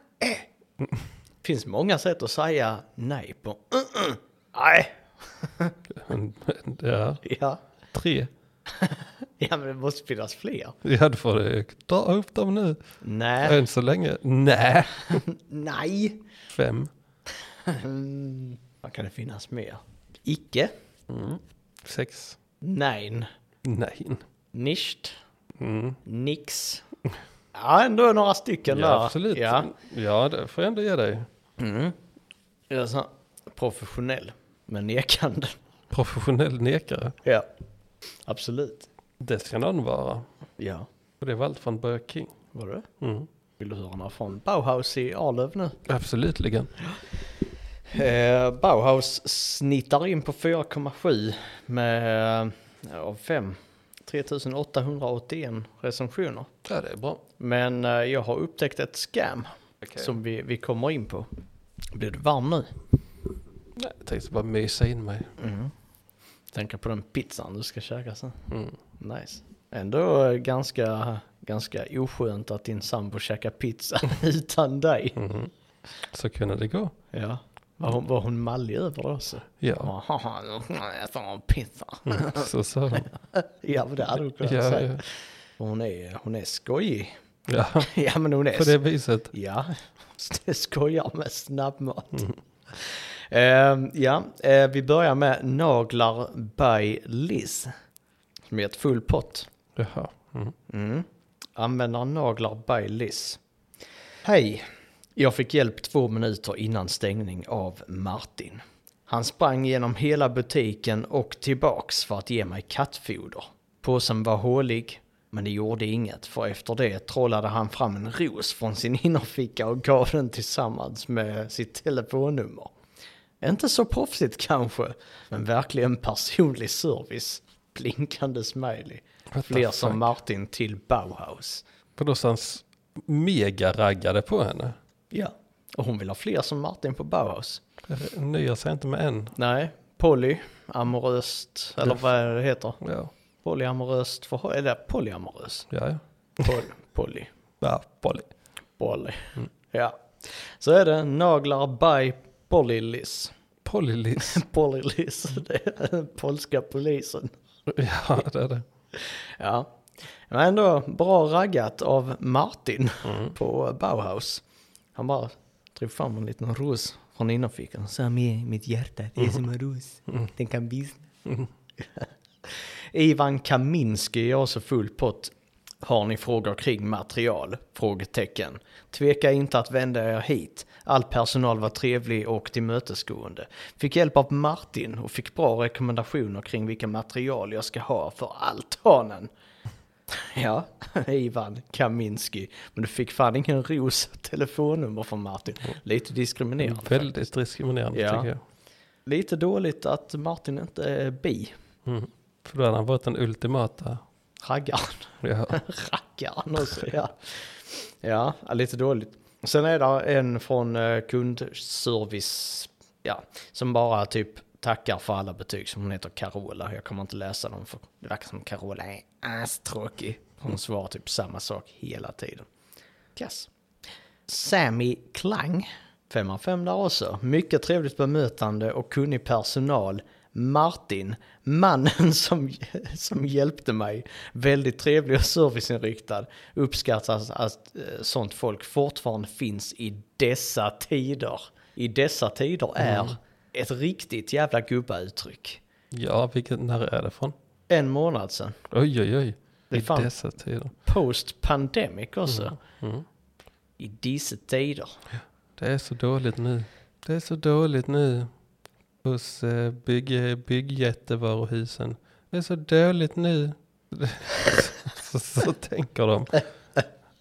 Speaker 2: Finns många sätt att säga nej på. Mm-mm. Nej!
Speaker 1: ja.
Speaker 2: Ja.
Speaker 1: Tre.
Speaker 2: ja, men det måste finnas fler.
Speaker 1: Ja, då får du dra upp dem nu.
Speaker 2: Nej.
Speaker 1: Än så länge. Nej.
Speaker 2: Nej!
Speaker 1: Fem.
Speaker 2: Mm. Vad kan det finnas mer? Icke.
Speaker 1: Mm. Sex.
Speaker 2: Nein.
Speaker 1: Nej.
Speaker 2: Nicht.
Speaker 1: Mm.
Speaker 2: Nix. Ja, ändå några stycken
Speaker 1: Ja,
Speaker 2: där.
Speaker 1: absolut.
Speaker 2: Ja.
Speaker 1: ja, det får jag ändå ge dig.
Speaker 2: Mm. Jag är sån här professionell, men nekande.
Speaker 1: Professionell nekare.
Speaker 2: Ja, absolut.
Speaker 1: Det ska någon vara.
Speaker 2: Ja,
Speaker 1: Och det var allt från Börje King.
Speaker 2: var det?
Speaker 1: Mm.
Speaker 2: Vill du höra några från Bauhaus i Arlöv nu?
Speaker 1: Absolutligen.
Speaker 2: Eh, Bauhaus snittar in på 4,7 med eh, av 5. 3881 recensioner.
Speaker 1: Ja, det är bra.
Speaker 2: Men eh, jag har upptäckt ett scam som vi, vi kommer in på. Blir du varm nu?
Speaker 1: Nej, jag tänkte bara mysa in mig.
Speaker 2: Mm. Tänker på den pizzan du ska käka sen.
Speaker 1: Mm.
Speaker 2: Nice. Ändå eh, ganska, ganska oskönt att din sambo käkar pizza utan dig.
Speaker 1: Mhm. Så kunde det gå.
Speaker 2: Ja. Var hon, var hon mallig över det också?
Speaker 1: Ja,
Speaker 2: Ja. Jag tar en pizza.
Speaker 1: mm. så sa de.
Speaker 2: Ja, men det hade hon kunnat
Speaker 1: Ja,
Speaker 2: säga.
Speaker 1: ja.
Speaker 2: Hon är, hon är skojig.
Speaker 1: ja,
Speaker 2: Ja, men hon är
Speaker 1: på det viset.
Speaker 2: Ja, skojar med snabbmat.
Speaker 1: Mm.
Speaker 2: Ehm, ja, eh, vi börjar med Naglar by Liz. Som är ett full pott.
Speaker 1: Jaha. Mm.
Speaker 2: Mm. Användare Naglar by Liz. Hej! Jag fick hjälp två minuter innan stängning av Martin. Han sprang genom hela butiken och tillbaks för att ge mig kattfoder. Påsen var hålig, men det gjorde inget för efter det trollade han fram en ros från sin innerficka och gav den tillsammans med sitt telefonnummer. Inte så proffsigt kanske, men verkligen personlig service. Blinkande smiley.
Speaker 1: the
Speaker 2: Fler
Speaker 1: fuck?
Speaker 2: som Martin till Bauhaus.
Speaker 1: På någonstans mega-raggade på henne.
Speaker 2: Ja, och hon vill ha fler som Martin på Bauhaus.
Speaker 1: Det Eh, Nöjer sig inte med en.
Speaker 2: Nej, polyamoröst, eller
Speaker 1: Ja.
Speaker 2: vad det heter.
Speaker 1: Ja,
Speaker 2: Polyamoröst förhå- eller polyamorös.
Speaker 1: ja, ja.
Speaker 2: Pol, poly,
Speaker 1: ja Polly.
Speaker 2: poly. Ja. Så är det naglar by polylis.
Speaker 1: Pollylis.
Speaker 2: Polylis, det är den polska polisen.
Speaker 1: Ja, det är det.
Speaker 2: Ja. Men ändå bra raggat av Martin på Bauhaus. Han bara drog fram en liten ros från innerfickan.
Speaker 3: Som i mitt hjärta, det
Speaker 2: Mm.
Speaker 3: är som en ros. Den kan vissna.
Speaker 2: Ivan Kaminski är också full pott. Har ni frågor kring material? Frågetecken. Tveka inte att vända er hit. All personal var trevlig och tillmötesgående. Fick hjälp av Martin och fick bra rekommendationer kring vilka material jag ska ha för altanen. Ja, Ivan Kaminski. Men du fick fan ingen ros och telefonnummer från Martin. Lite diskriminerande.
Speaker 1: Väldigt diskriminerande
Speaker 2: Ja.
Speaker 1: tycker jag.
Speaker 2: Lite dåligt att Martin inte är bi.
Speaker 1: Mm. För då hade han varit den ultimata.
Speaker 2: Raggaren.
Speaker 1: Ja.
Speaker 2: rackaren också. Ja. ja, ja, lite dåligt. Sen är det en från eh, kundservice, ja, som bara typ tackar för alla betyg, som hon heter Carola. Jag kommer inte läsa dem för det verkar som Carola är astråkig. Hon svarar typ samma sak hela tiden. Kass. Sammy Klang. fem av fem där också. Mycket trevligt bemötande och kunnig personal. Martin, mannen som, som hjälpte mig, väldigt trevlig och serviceinriktad. Uppskattas att eh, sånt folk fortfarande finns i dessa tider. I dessa tider är
Speaker 1: Mm.
Speaker 2: ett riktigt jävla gubbauttryck.
Speaker 1: ja, vilken, när är det från?
Speaker 2: En månad sedan,
Speaker 1: Oj, oj, oj.
Speaker 2: Det
Speaker 1: I
Speaker 2: är fan-
Speaker 1: dessa tider.
Speaker 2: post pandemic också.
Speaker 1: Mm.
Speaker 2: I dessa tider.
Speaker 1: Det är så dåligt nu. Det är så dåligt nu. Hos eh, bygg, byggjättevaruhusen. Det är så dåligt nu. så, så tänker de.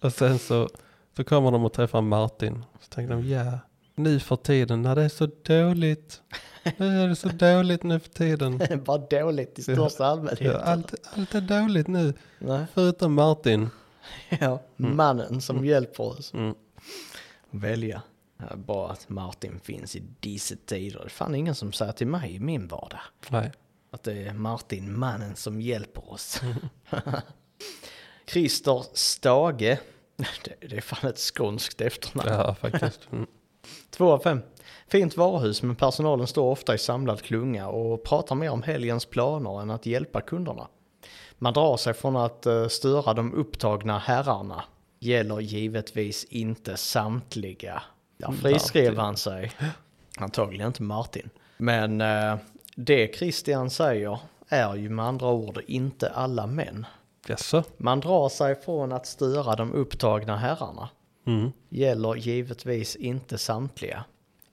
Speaker 1: Och sen så, så kommer de och träffar Martin. Så tänker de, ja, nu för tiden när det är så dåligt. Nu är det så dåligt nu för tiden.
Speaker 2: Bara dåligt i
Speaker 1: Ja.
Speaker 2: största allmänhet.
Speaker 1: Ja, allt, allt är dåligt nu.
Speaker 2: Nej.
Speaker 1: Förutom Martin.
Speaker 2: Ja, mannen som hjälper oss.
Speaker 1: Mm.
Speaker 2: Välja. Ja, Bara att Martin finns i dessa tider. Det är fan ingen som säger till mig i min vardag.
Speaker 1: Nej.
Speaker 2: Att det är Martin, mannen som hjälper oss. Christer Stage. Det, det är fan ett skånskt efternamn.
Speaker 1: Ja, faktiskt. Mm.
Speaker 2: Två av fem. Fint varuhus men personalen står ofta i samlad klunga och pratar mer om helgens planer än att hjälpa kunderna. Man drar sig från att eh, störa de upptagna herrarna. Gäller givetvis inte samtliga. Där friskrev
Speaker 1: Martin.
Speaker 2: han sig. Antagligen inte Martin. Men eh, det Christian säger är ju med andra ord inte alla män.
Speaker 1: Jaså?
Speaker 2: Man drar sig från att störa de upptagna herrarna.
Speaker 1: Mm.
Speaker 2: Gäller givetvis inte samtliga.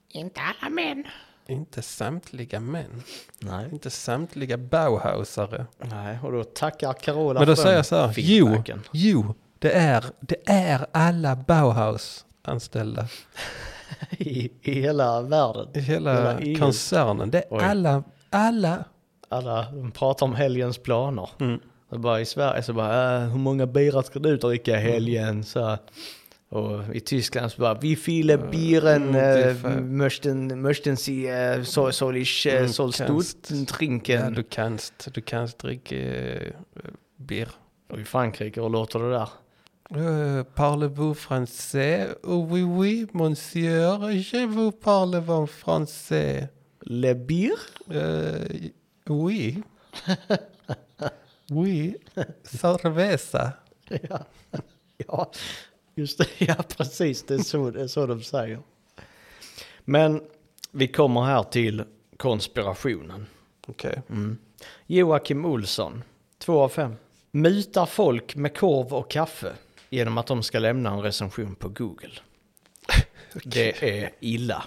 Speaker 2: Inte alla män.
Speaker 1: Inte samtliga män.
Speaker 2: Nej.
Speaker 1: Inte samtliga Bauhausare.
Speaker 2: Nej, och då tackar Carola
Speaker 1: Men då
Speaker 2: för
Speaker 1: säger
Speaker 2: den
Speaker 1: jag så här, jo,
Speaker 2: feedbacken.
Speaker 1: jo, det är, det är alla Bauhaus-anställda
Speaker 2: I, I hela världen.
Speaker 1: i hela
Speaker 2: Hela EU.
Speaker 1: koncernen. Det är
Speaker 2: Oj.
Speaker 1: alla, alla.
Speaker 2: Alla de pratar om helgens planer.
Speaker 1: Mm.
Speaker 2: Och bara i Sverige så bara, äh, hur många birar ska du dricka i
Speaker 1: Mm.
Speaker 2: helgen? Så, här. och i Tyskland så bara, vi viele bieren
Speaker 1: Mm, det är
Speaker 2: äh,
Speaker 1: för-
Speaker 2: möchten, möchten sie äh, so, soll ich äh,
Speaker 1: Mm,
Speaker 2: soll
Speaker 1: kannst.
Speaker 2: stuten
Speaker 1: Ja,
Speaker 2: trinken?
Speaker 1: du kanst, du kanst dricka eh, bier.
Speaker 2: Och i Frankrike, hur låter det där?
Speaker 1: Euh, parlez-vous français? Oh, oui, oui, monsieur, je vous parle en français.
Speaker 2: Le bier?
Speaker 1: Euh, oui. oui, cerveza.
Speaker 2: Ja, just det. Ja, precis. Det är så, det är så de säger. Men vi kommer här till konspirationen. Mm.
Speaker 1: Okej.
Speaker 2: Joakim Olsson, 2 av 5. Mutar folk med korv och kaffe genom att de ska lämna en recension på Google. Det är illa.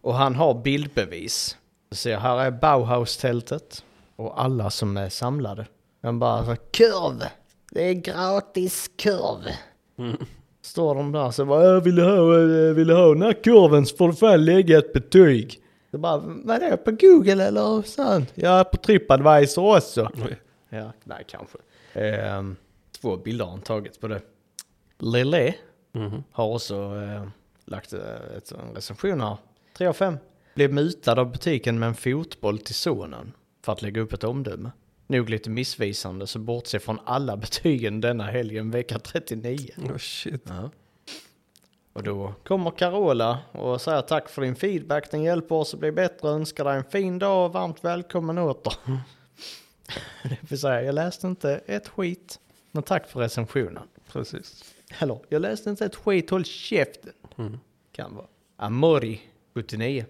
Speaker 2: Och han har bildbevis. Så här är Bauhaus-tältet och alla som är samlade. Han bara så, kurv! Det är gratis kurv! Står de där så bara jag vill ha, jag vill ha den här kurven så får du fan lägga ett betyg. Så bara vadå på Google eller sånt? Ja på Tripadvisor också.
Speaker 1: Oj.
Speaker 2: Ja, nej kanske. Ehm, två bilder har han tagit på det. Lele
Speaker 1: Mhm.
Speaker 2: har också eh, lagt eh, ett, en recension här. 3 av 5. Blev mutad av butiken med en fotboll till sonen för att lägga upp ett omdöme. Nog lite missvisande så bortse från alla betygen denna helgen vecka 39.
Speaker 1: Oh, shit.
Speaker 2: Och då kommer Carola och säger tack för din feedback, den hjälper oss att bli bättre, önskar dig en fin dag och varmt välkommen åter. Det vill säga, jag läste inte ett skit, men tack för recensionen.
Speaker 1: Precis.
Speaker 2: Eller, jag läste inte ett skit, håll käften.
Speaker 1: Mm.
Speaker 2: Kan vara. Amori, 79.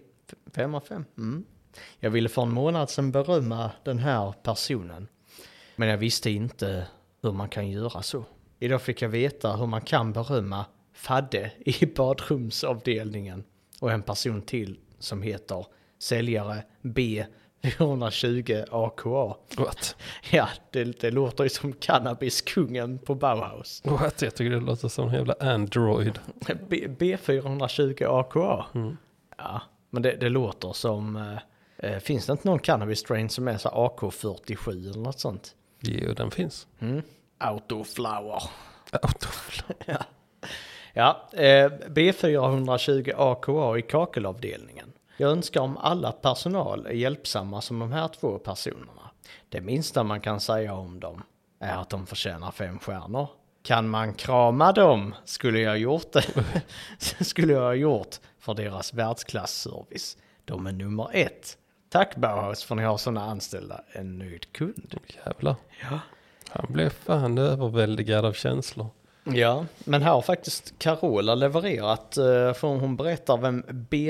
Speaker 2: 5 av 5. Mm. Jag ville för en månad sedan berömma den här personen. Men jag visste inte hur man kan göra så. Idag fick jag veta hur man kan berömma Fadde i badrumsavdelningen. Och en person till som heter säljare B. 420 AKA.
Speaker 1: What?
Speaker 2: Ja, det, det låter ju som cannabiskungen på Bauhaus.
Speaker 1: What? Jag tycker det låter som en jävla Android.
Speaker 2: B- B420 AKA.
Speaker 1: Mm.
Speaker 2: Ja, men det, det låter som... eh, Eh, finns det inte någon cannabis strain som är så här AK47 eller något sånt?
Speaker 1: Jo, den finns.
Speaker 2: Mm. Autoflower.
Speaker 1: Autoflow.
Speaker 2: Ja, eh, B420 AKA i kakelavdelningen. Jag önskar om alla personal är hjälpsamma som de här två personerna. Det minsta man kan säga om dem är att de förtjänar fem stjärnor. Kan man krama dem skulle jag gjort det. skulle jag ha gjort för deras världsklassservice. De är nummer ett. Tack Bauhaus för ni har sådana anställda. En nöjd kund.
Speaker 1: Jävlar.
Speaker 2: Ja.
Speaker 1: Han blev fan överväldigad av känslor.
Speaker 2: Ja, men här har faktiskt Carola levererat, eh, för hon berättar vem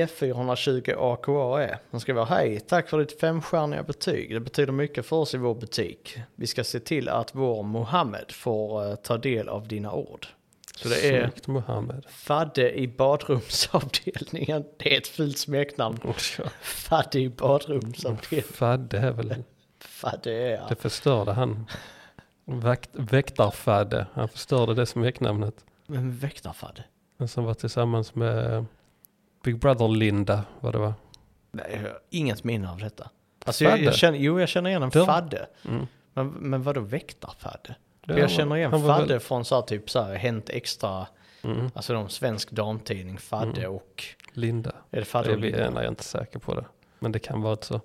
Speaker 2: B420 AKA är. Hon skriver hej, tack för ditt femstjärniga betyg. Det betyder mycket för oss i vår butik. Vi ska se till att vår Mohammed får eh, ta del av dina ord. Så det är
Speaker 1: Snyggt, Mohammed.
Speaker 2: Fadde i badrumsavdelningen. Det är ett fult smeknamn.
Speaker 1: Oh, ja.
Speaker 2: Fadde i badrumsavdelningen.
Speaker 1: Fadde är väl...
Speaker 2: Fadde är...
Speaker 1: Det förstörde han. Vakt, väktarfadde. Han förstörde det smeknamnet.
Speaker 2: Men väktarfadde?
Speaker 1: Han som var tillsammans med Big Brother-Linda, vad det var.
Speaker 2: Nej, jag har inget minne av detta. Alltså jag,
Speaker 1: Fadde?
Speaker 2: jag känner, jo, jag känner igen en
Speaker 1: De-
Speaker 2: fadde.
Speaker 1: Mm.
Speaker 2: Men, men vadå väktarfadde?
Speaker 1: Det
Speaker 2: jag
Speaker 1: var-
Speaker 2: känner igen
Speaker 1: han var
Speaker 2: fadde
Speaker 1: väl-
Speaker 2: från så här, typ så här Hänt Extra,
Speaker 1: Mm.
Speaker 2: alltså de svensk damtidning, fadde och...
Speaker 1: Linda.
Speaker 2: Är det fadde
Speaker 1: det
Speaker 2: och
Speaker 1: vi
Speaker 2: Linda?
Speaker 1: är, nej, Mm. jag är inte säker på det. Men det kan vara så.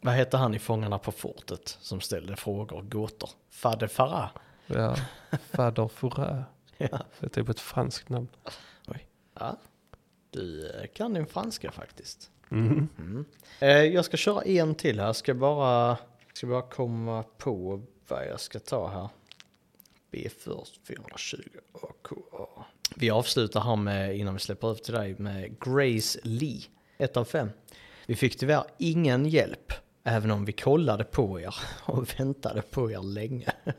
Speaker 2: Vad hette han i Fångarna på fortet som ställde frågor och gåtor? Fadde Farah?
Speaker 1: Ja. Fader Fourä.
Speaker 2: Ja.
Speaker 1: Det är typ ett franskt namn.
Speaker 2: ja. Du eh, kan din franska faktiskt.
Speaker 1: Mm.
Speaker 2: Eh, jag ska köra en till här, ska bara, ska bara komma på vad jag ska ta här. B420 AKA. Vi avslutar här med, innan vi släpper över till dig, med Grace Lee. 1 av 5. Vi fick tyvärr ingen hjälp. Även om vi kollade på er och väntade på er länge.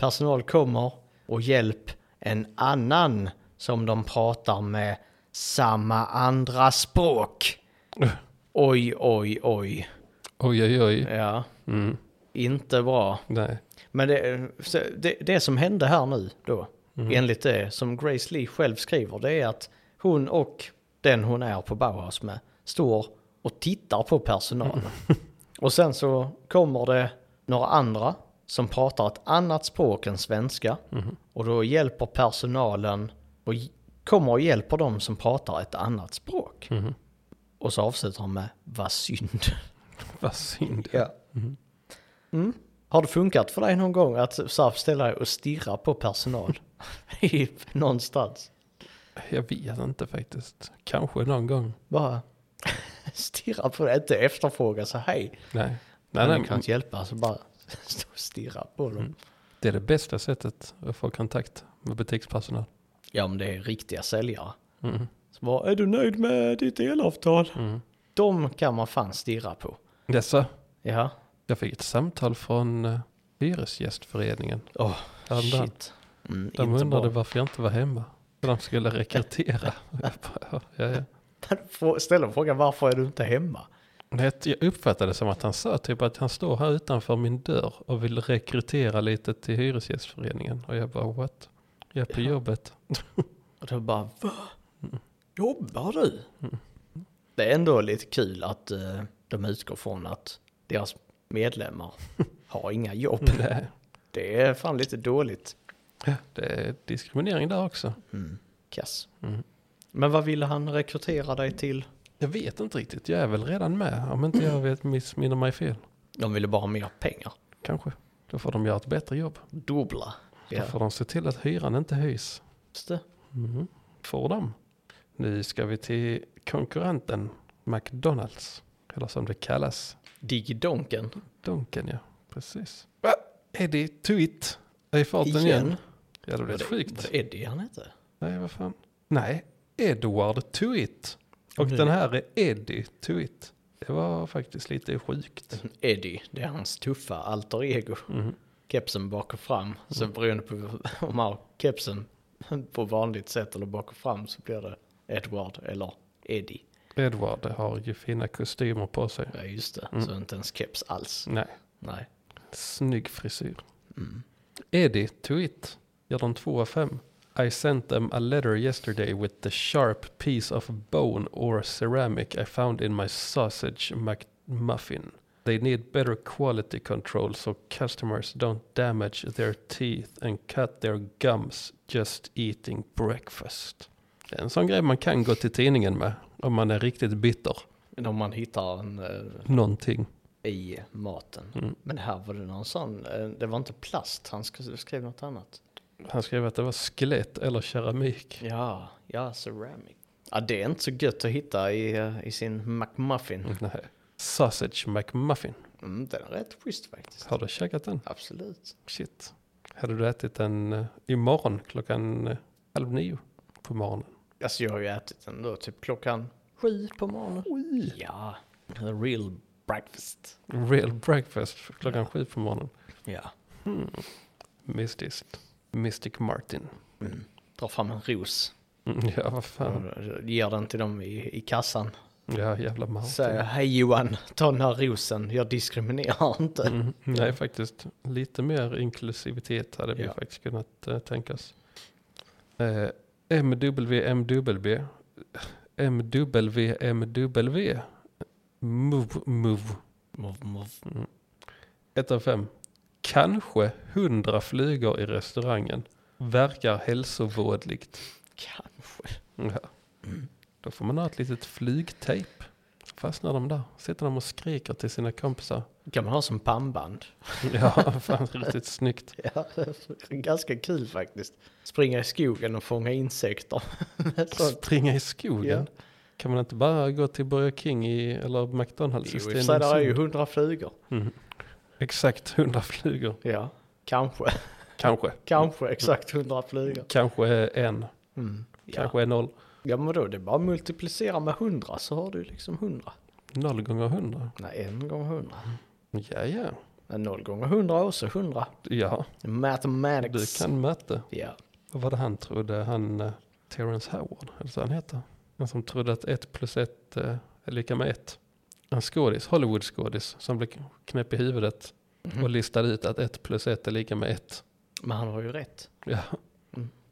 Speaker 2: Personal kommer och hjälp en annan som de pratar med samma andra språk. Oj, oj, oj.
Speaker 1: Oj, oj, oj.
Speaker 2: Ja,
Speaker 1: Mm.
Speaker 2: inte bra.
Speaker 1: Nej.
Speaker 2: Men det, så det, det som hände här nu då, enligt det som Grace Lee själv skriver, det är att hon och den hon är på Bauhaus med står och tittar på personalen. Och sen så kommer det några andra som pratar ett annat språk än svenska. Och då hjälper personalen och j- kommer och hjälper dem som pratar ett annat språk.
Speaker 1: Mhm.
Speaker 2: Och så avslutar han med, vad synd.
Speaker 1: Vad synd.
Speaker 2: Ja. Mm. Har det funkat för dig någon gång att så här, ställa dig och stirra på personal? I, någonstans.
Speaker 1: Jag vet inte faktiskt. Kanske någon gång.
Speaker 2: Bara stirra på det, inte efterfråga så hej.
Speaker 1: Nej. Nej,
Speaker 2: Men
Speaker 1: nej, Mm.
Speaker 2: det kan inte hjälpa, så bara stå och stirra på dem.
Speaker 1: Det är det bästa sättet att få kontakt med butikspersonal.
Speaker 2: Ja, men det är riktiga säljare.
Speaker 1: Mm.
Speaker 2: Så bara, är du nöjd med ditt elavtal?
Speaker 1: Mm.
Speaker 2: De kan man fan stirra på.
Speaker 1: Dessa.
Speaker 2: Ja,
Speaker 1: Jag fick ett samtal från eh, Hyresgästföreningen.
Speaker 2: åh
Speaker 1: häromdagen.
Speaker 2: shit. Mm,
Speaker 1: De
Speaker 2: inte
Speaker 1: undrade
Speaker 2: bra.
Speaker 1: varför jag inte var hemma. Så de skulle rekrytera. Jag bara, ja, ja, ja.
Speaker 2: Få- Ställ frågan varför är du inte hemma?
Speaker 1: Nej, Jag uppfattade det som att han sa typ att han står här utanför min dörr och vill rekrytera lite till Hyresgästföreningen. Och jag bara what? Jag är på
Speaker 2: Ja.
Speaker 1: jobbet.
Speaker 2: Och då bara va? Jobbar du?
Speaker 1: Mm.
Speaker 2: Det är ändå lite kul att eh, de utgår från att deras medlemmar har inga jobb.
Speaker 1: Nej,
Speaker 2: Det är fan lite dåligt.
Speaker 1: det är diskriminering där också.
Speaker 2: Kass.
Speaker 1: Mm.
Speaker 2: Men vad ville han rekrytera dig till?
Speaker 1: Jag vet inte riktigt, jag är väl redan med. Om inte jag vet, missminner mig fel.
Speaker 2: De ville bara ha mer pengar.
Speaker 1: Kanske. Då får de göra ett bättre jobb.
Speaker 2: Dubbla. Ja,
Speaker 1: Då får de se till att hyran inte höjs.
Speaker 2: just det. Mm-hmm.
Speaker 1: Mhm. Får de. Nu ska vi till konkurrenten McDonalds. Eller som det kallas.
Speaker 2: Digidonken.
Speaker 1: Donken ja, precis. Va? Eddie Tweet är i farten igen. Ja, det
Speaker 2: Var
Speaker 1: blev
Speaker 2: det-
Speaker 1: sjukt.
Speaker 2: var det Eddie han hette?
Speaker 1: Nej, vad fan. Nej, Edward Tweet. Och
Speaker 2: Mm.
Speaker 1: den här är Eddie Tweet. Det var faktiskt lite sjukt.
Speaker 2: Eddie, det är hans tuffa alter ego.
Speaker 1: Mhm.
Speaker 2: Kepsen bak och fram.
Speaker 1: Mm.
Speaker 2: Så beroende på om man har kepsen på vanligt sätt eller bak och fram så blir det Edward eller Eddie.
Speaker 1: Edward har ju fina kostymer på sig.
Speaker 2: Ja just det, så inte ens keps alls.
Speaker 1: Mm. Nej,
Speaker 2: Nej.
Speaker 1: snygg frisyr.
Speaker 2: Mm.
Speaker 1: Eddie Tweet gör de 2 av 5. I sent them a letter yesterday with the sharp piece of bone or ceramic I found in my sausage McMuffin. They need better quality control so customers don't damage their teeth and cut their gums just eating breakfast. Det är en sån grej man kan gå till tidningen med om man är riktigt bitter.
Speaker 2: Men Om man hittar en eh,
Speaker 1: Någonting.
Speaker 2: i maten.
Speaker 1: Mm.
Speaker 2: Men här var det någon sån, eh, det var inte plast, han sk- skrev något annat.
Speaker 1: Han skrev att det var skelett eller keramik.
Speaker 2: Ja, ja, ceramic. Ja, det är inte så gött att hitta i, eh, i sin McMuffin.
Speaker 1: Nej. Sausage McMuffin.
Speaker 2: Mm, den är rätt schysst faktiskt.
Speaker 1: Har du käkat den?
Speaker 2: Absolut.
Speaker 1: Shit. Hade du ätit den eh, imorgon klockan eh, halv nio på morgonen?
Speaker 2: Alltså jag har ju ätit den då typ klockan sju på morgonen. Ja, real breakfast.
Speaker 1: Real breakfast för klockan sju på morgonen. Hmm.
Speaker 2: Ja.
Speaker 1: Mystiskt. Mystic Martin.
Speaker 2: Drar fram en ros.
Speaker 1: Mm, Ja, vad fan.
Speaker 2: och Ger den till dem i, i kassan.
Speaker 1: Ja, jävla Martin.
Speaker 2: Säger hej Johan, ta den här rosen, jag diskriminerar inte.
Speaker 1: Mm, nej, faktiskt. Lite mer inklusivitet hade vi
Speaker 2: Ja.
Speaker 1: faktiskt kunnat eh, tänka oss. Eh, MWMW. MWMW. Move, move.
Speaker 2: Mov, mov.
Speaker 1: Ett av fem. Kanske hundra flugor i restaurangen. Verkar hälsovådligt.
Speaker 2: Kanske.
Speaker 1: Ja. Då får man ha ett litet flygtejp. Fastnar de där. Sitter de och skriker till sina kompisar.
Speaker 2: Kan man ha som pannband.
Speaker 1: Ja, fan riktigt snyggt.
Speaker 2: Ja, ganska kul faktiskt. Springa i skogen och fånga insekter. Sånt.
Speaker 1: Springa i skogen. Kan man inte bara gå till Burger King i, eller McDonalds
Speaker 2: Jo,
Speaker 1: i
Speaker 2: i och för sig där är ju
Speaker 1: Stenungsund? Mhm.
Speaker 2: hundra flugor.
Speaker 1: Exakt, hundra flugor.
Speaker 2: Ja, kanske.
Speaker 1: Kanske.
Speaker 2: Kanske exakt hundra flugor.
Speaker 1: Kanske en.
Speaker 2: Mm. Ja.
Speaker 1: Kanske noll.
Speaker 2: Ja men då det är bara multiplicera med 100 så har du liksom 100.
Speaker 1: Noll gånger hundra.
Speaker 2: Nej, en gång hundra.
Speaker 1: Ja, ja.
Speaker 2: Men Noll gånger hundra är också hundra.
Speaker 1: Ja, du
Speaker 2: Mathematics.
Speaker 1: kan mäta.
Speaker 2: Ja.
Speaker 1: Vad var det han trodde? Han, eh, Terrence Howard, eller så han heter. Han som trodde att ett plus ett eh, är lika med ett. En skådis, Hollywood-skådis, som blev knäpp i huvudet
Speaker 2: Mhm.
Speaker 1: och listade ut att ett plus ett är lika med ett.
Speaker 2: Men han har ju rätt.
Speaker 1: Ja,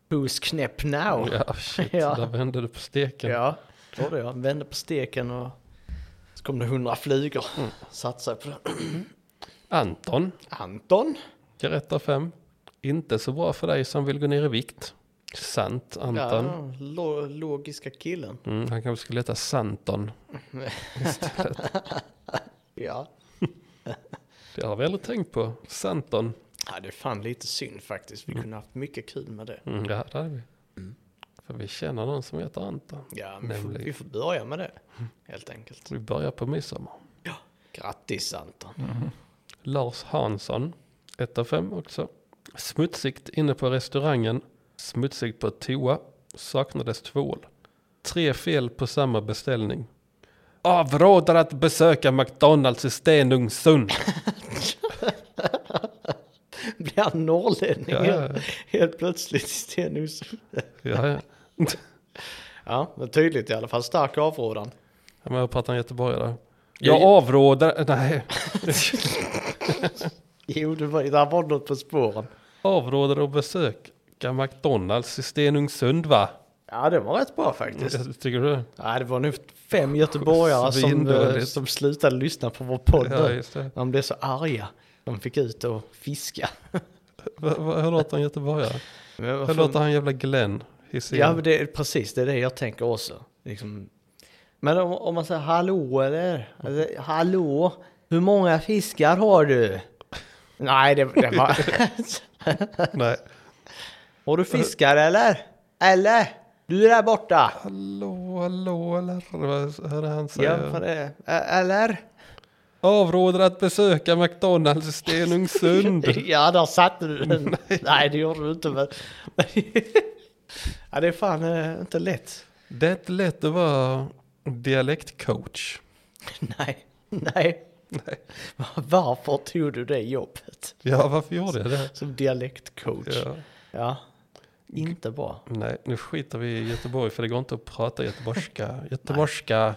Speaker 2: Who's knäpp now?
Speaker 1: ja shit,
Speaker 2: Ja.
Speaker 1: där vände du på steken.
Speaker 2: Ja, trodde jag. Vände på steken och så kom det hundra flugor.
Speaker 1: Mm.
Speaker 2: Satsade på den.
Speaker 1: Anton,
Speaker 2: Anton.
Speaker 1: jag rätt av fem. Inte så bra för dig som vill gå ner i vikt. Sant, Anton.
Speaker 2: Ja, lo- logiska killen.
Speaker 1: Mm, han kanske skulle heta Santon.
Speaker 2: Ja.
Speaker 1: Det har vi aldrig tänkt på. Santon.
Speaker 2: ja, det är fan lite synd faktiskt. Vi kunde haft mycket kul med det.
Speaker 1: Mm, det hade vi. För vi känner någon som heter Anton.
Speaker 2: Ja, men vi får,
Speaker 1: Nämligen. Mm.
Speaker 2: vi får börja med det helt enkelt.
Speaker 1: Vi börjar på midsommar.
Speaker 2: Grattis Anton.
Speaker 1: Lars Hansson, 1 av 5 också. Smutsigt inne på restaurangen, smutsigt på toa, saknades tvål. Tre fel på samma beställning. Avråder att besöka McDonalds i Stenungsund.
Speaker 2: Blir han norrlänning
Speaker 1: Ja, ja, ja.
Speaker 2: helt plötsligt i Stenungsund?
Speaker 1: ja, ja.
Speaker 2: Ja, men tydligt i alla fall. Stark avrådan.
Speaker 1: Ja, Men jag pratar göteborgare.
Speaker 2: Jag-
Speaker 1: Jag avråder, nej,
Speaker 2: Jo, det var, där var något på spåren.
Speaker 1: avråder att besöka McDonalds i Stenungsund va?
Speaker 2: Ja, det var rätt bra faktiskt.
Speaker 1: Jag tycker du det?
Speaker 2: Ja, det var nu fem göteborgare som, eh,
Speaker 1: Svindåligt.
Speaker 2: som slutade lyssna på vår podd.
Speaker 1: Ja,
Speaker 2: nu.
Speaker 1: just det.
Speaker 2: De blev så arga. De fick ut och fiska.
Speaker 1: Va- va- Hur låter en göteborgare?
Speaker 2: Men
Speaker 1: Hur
Speaker 2: varför-
Speaker 1: låter han jävla Glenn? Hisingen.
Speaker 2: Ja, men det, är- precis. Det är det jag tänker också. Liksom. Men om, om man säger hallå eller? Alltså, hallå, hur många fiskar har du? Nej, det, det var...
Speaker 1: Nej.
Speaker 2: har du fiskar eller? Eller? Du är där borta.
Speaker 1: Hallå, hallå, eller vad hörde han
Speaker 2: Ja,
Speaker 1: säga?
Speaker 2: för det. Ä- Eller?
Speaker 1: Avråder att besöka McDonalds i Stenungsund.
Speaker 2: Ja, där satte du den. Nej, det gjorde du inte. Men... ja, det är fan eh, inte lätt.
Speaker 1: det är inte lätt att vara dialektcoach.
Speaker 2: Nej, nej. Varför tog du det jobbet?
Speaker 1: Ja, varför gjorde jag det?
Speaker 2: Som dialektcoach.
Speaker 1: Ja.
Speaker 2: Ja, inte bra.
Speaker 1: Nej, nu skiter vi i Göteborg för det går inte att prata göteborgska. Göteborgska.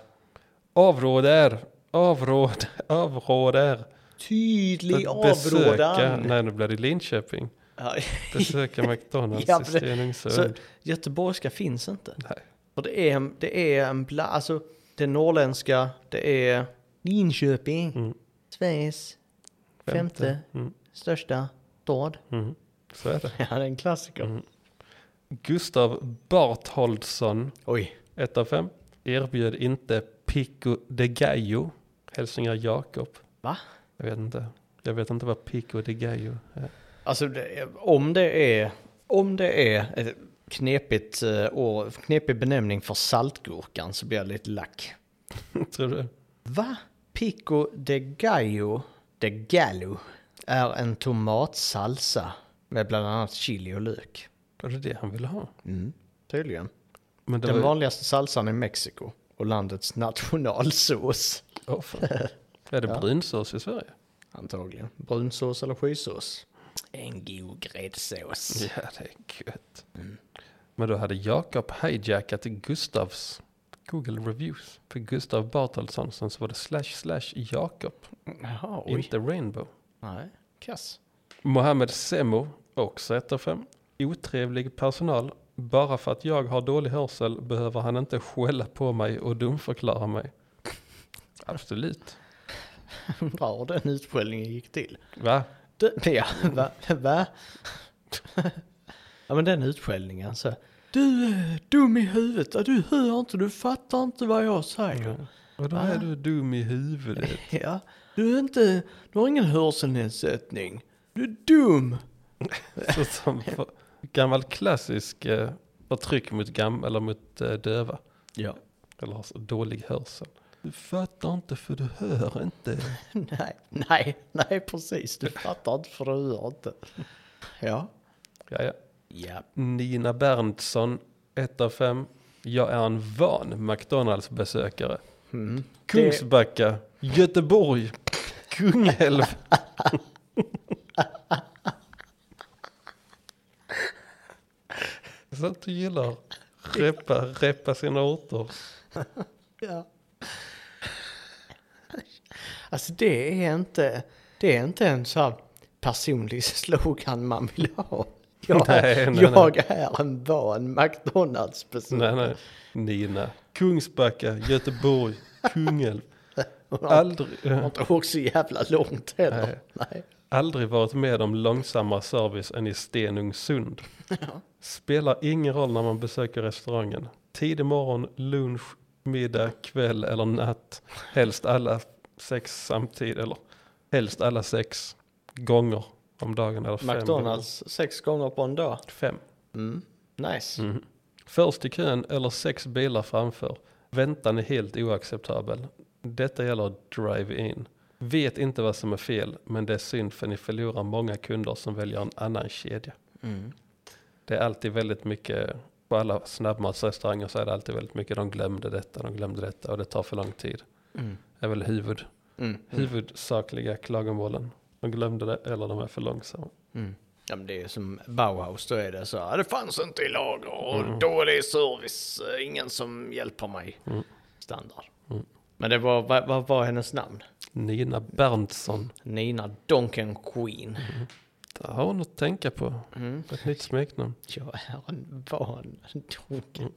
Speaker 1: Avråder, avråd, avråder.
Speaker 2: Tydlig
Speaker 1: Att besöka-
Speaker 2: avrådan.
Speaker 1: Nej, nu blir det Linköping.
Speaker 2: Ja,
Speaker 1: Besöka McDonalds
Speaker 2: Ja,
Speaker 1: i
Speaker 2: men det- så
Speaker 1: Stenungsund.
Speaker 2: göteborgska finns inte.
Speaker 1: Nej.
Speaker 2: För det är, det är en bla, alltså det norrländska, det är Linköping,
Speaker 1: Mm.
Speaker 2: Sveriges femte,
Speaker 1: Mm,
Speaker 2: största stad.
Speaker 1: mm. Så är det.
Speaker 2: Ja, det är en klassiker.
Speaker 1: Gustav Bartholdsson,
Speaker 2: Oj.
Speaker 1: 1 av 5, erbjöd inte Pico de Gallo. Hälsningar Jakob.
Speaker 2: Va?
Speaker 1: Jag vet inte. Jag vet inte vad Pico de Gallo är.
Speaker 2: Alltså det, är- om det är, om det är ett knepigt eh, och knepig benämning för saltgurkan så blir jag lite lack.
Speaker 1: Tror du?
Speaker 2: Va? Pico de gallo, de gallo, är en tomatsalsa med bland annat chili och lök.
Speaker 1: Var det det han ville ha?
Speaker 2: Mm. Tydligen.
Speaker 1: Men det
Speaker 2: Den
Speaker 1: var...
Speaker 2: vanligaste salsan i Mexiko och landets nationalsås.
Speaker 1: Åh, fan. är det brunsås i Sverige?
Speaker 2: Antagligen. Brunsås eller skysås. En god gräddsås.
Speaker 1: Ja, det är gött. Men då hade Jakob hijackat Gustavs Google Reviews. För Gustav Bartholdsson sen så var det slash slash Jakob,
Speaker 2: Jaha, oj.
Speaker 1: inte Rainbow.
Speaker 2: Nej, kass.
Speaker 1: Mohammed Semmo, också 1 av 5. Otrevlig personal. Bara för att jag har dålig hörsel behöver han inte skälla på mig och dumförklara mig. Absolut.
Speaker 2: Undrar hur den utskällningen gick till.
Speaker 1: Va?
Speaker 2: Du, ja, va? va? ja men den utskällningen så. Du är dum i huvudet, Ja, du hör inte, du fattar inte vad jag säger.
Speaker 1: Och då är du dum i huvudet.
Speaker 2: Ja. Du är inte, du har ingen hörselnedsättning. Du är dum.
Speaker 1: Så som för- gammal klassisk eh, förtryck mot, gam, eller mot eh, döva.
Speaker 2: Ja.
Speaker 1: Eller har så dålig hörsel. Du fattar inte för du hör inte.
Speaker 2: Nej, nej, nej precis. Du fattar inte för du hör inte. Ja.
Speaker 1: Ja, ja.
Speaker 2: Ja.
Speaker 1: Nina Berntsson, 1 av 5. Jag är en van McDonalds-besökare.
Speaker 2: Mm.
Speaker 1: Kungsbacka, Göteborg, Kungälv. Så att du gillar repa, repa sina orter.
Speaker 2: Ja. Alltså det är inte, det är inte en så här personlig slogan man vill ha. Jag,
Speaker 1: Nej, nej,
Speaker 2: jag är en van McDonalds-person.
Speaker 1: Nej, nej. Nina. Kungsbacka, Göteborg, Kungälv. Aldrig, eh,
Speaker 2: Jag har inte åkt så jävla långt heller. Nej.
Speaker 1: aldrig varit med om långsammare service än i Stenungsund. Spelar ingen roll när man besöker restaurangen. Tidig morgon, lunch, middag, kväll eller natt. Helst alla sex samtidigt, eller helst alla sex gånger om dagen. Eller fem
Speaker 2: McDonalds sex gånger på en dag.
Speaker 1: gånger. Fem.
Speaker 2: Mm. Nice.
Speaker 1: Mhm. Först i kön eller sex bilar framför. Väntan är helt oacceptabel. Detta gäller drive-in. Vet inte vad som är fel, men det är synd för ni förlorar många kunder som väljer en annan kedja.
Speaker 2: Mm.
Speaker 1: Det är alltid väldigt mycket, på alla snabbmatsrestauranger så är det alltid väldigt mycket, de glömde detta, de glömde detta och det tar för lång tid.
Speaker 2: Mm.
Speaker 1: Det är väl huvud,
Speaker 2: Mm.
Speaker 1: huvudsakliga klagomålen. De glömde det eller de är för långsamma.
Speaker 2: Mm. Ja, men det är ju som Bauhaus, då är det så här, det fanns inte i lager och dålig service, eh, ingen som hjälper mig. Standard. Men det var, vad, vad var hennes namn?
Speaker 1: Nina Berntsson,
Speaker 2: Nina Donken Queen.
Speaker 1: där har hon att tänka på.
Speaker 2: Mm.
Speaker 1: Ett nytt smeknamn.
Speaker 2: Jag är en van Donken.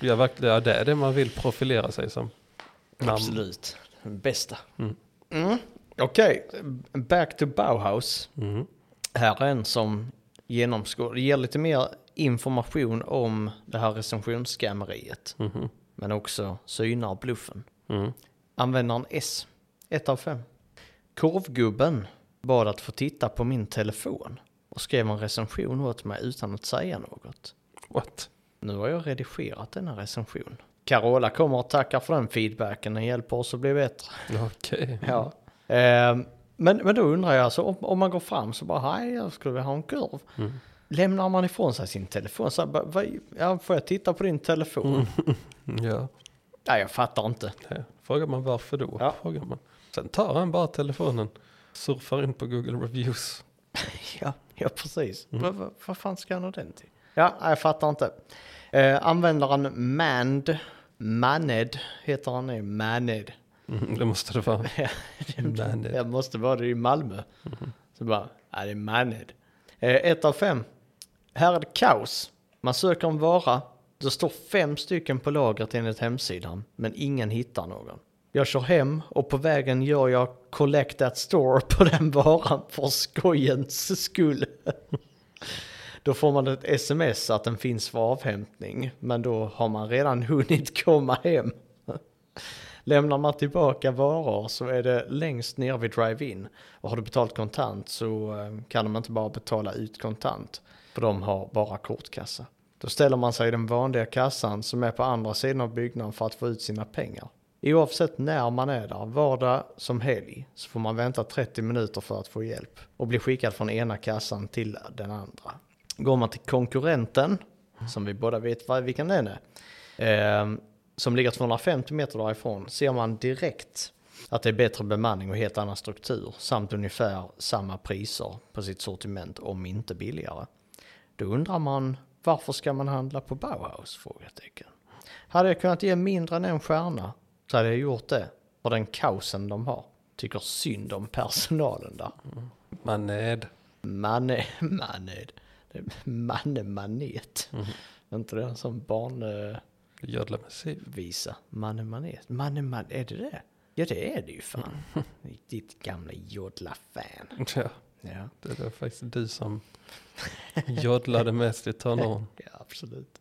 Speaker 1: Ja, verkligen. Ja, det är det man vill profilera sig som. Namn.
Speaker 2: Absolut, den bästa. Mm. Okej, back to Bauhaus.
Speaker 1: Mm.
Speaker 2: Här är en som genomskådar, ger lite mer information om det här recensionsskammeriet.
Speaker 1: Mhm.
Speaker 2: Men också synar bluffen.
Speaker 1: Mm.
Speaker 2: Användaren S, 1 av 5. Korvgubben bad att få titta på min telefon och skrev en recension åt mig utan att säga något.
Speaker 1: What?
Speaker 2: Nu har jag redigerat denna recension. Carola kommer och tackar för den feedbacken, den hjälper oss att bli bättre.
Speaker 1: Okej.
Speaker 2: Ja. Ehm, men, men då undrar jag, alltså, om, om man går fram så bara, hej, jag skulle vilja ha en kurv. Lämnar man ifrån sig sin telefon så här, "Va- vad- ja, får jag titta på din telefon?
Speaker 1: Ja.
Speaker 2: Nej, jag fattar inte.
Speaker 1: Det. Frågar man varför då?
Speaker 2: Ja.
Speaker 1: Frågar man. Sen tar han bara telefonen, surfar in på Google Reviews.
Speaker 2: Ja, ja precis. Vad, vad, vad fan ska han ha den till? Mm. Ja, nej, jag fattar inte. Eh, användaren Mand, Maned heter han nu, Maned.
Speaker 1: Mm, det måste det vara. Maned.
Speaker 2: Jag måste vara det i Malmö. Så bara, ja det är Maned. Eh, ett av fem. Här är det kaos. Man söker en vara, det står fem stycken på lagret enligt hemsidan, men ingen hittar någon. Jag kör hem och på vägen gör jag collect at store på den varan för skojens skull. Då får man ett sms att den finns för avhämtning, men då har man redan hunnit komma hem. Lämnar man tillbaka varor så är det längst ner vid drive-in. Och har du betalt kontant så eh, kan de inte bara betala ut kontant. För de har bara kortkassa. Då ställer man sig i den vanliga kassan som är på andra sidan av byggnaden för att få ut sina pengar. Oavsett när man är där, vardag som helg, så får man vänta 30 minuter för att få hjälp. Och bli skickad från ena kassan till den andra. Går man till konkurrenten, som vi båda vet vad- vilken den är, ehm, som ligger 250 meter därifrån ser man direkt att det är bättre bemanning och helt annan struktur samt ungefär samma priser på sitt sortiment om inte billigare. Då undrar man varför ska man handla på Bauhaus? Frågetecken. Hade jag kunnat ge mindre än en stjärna så hade jag gjort det för den kaosen de har. Tycker synd om personalen där.
Speaker 1: Maned.
Speaker 2: Manne, manne, manne, manet. Är inte det en sån barn... eh,
Speaker 1: Gödla med siv.
Speaker 2: visa. Mannen manet. Mannen man, är det det? Ja det är det ju fan. Ditt gamla jodla fan.
Speaker 1: Ja,
Speaker 2: Ja,
Speaker 1: det var faktiskt du som jodlade mest i tonåren.
Speaker 2: ja absolut.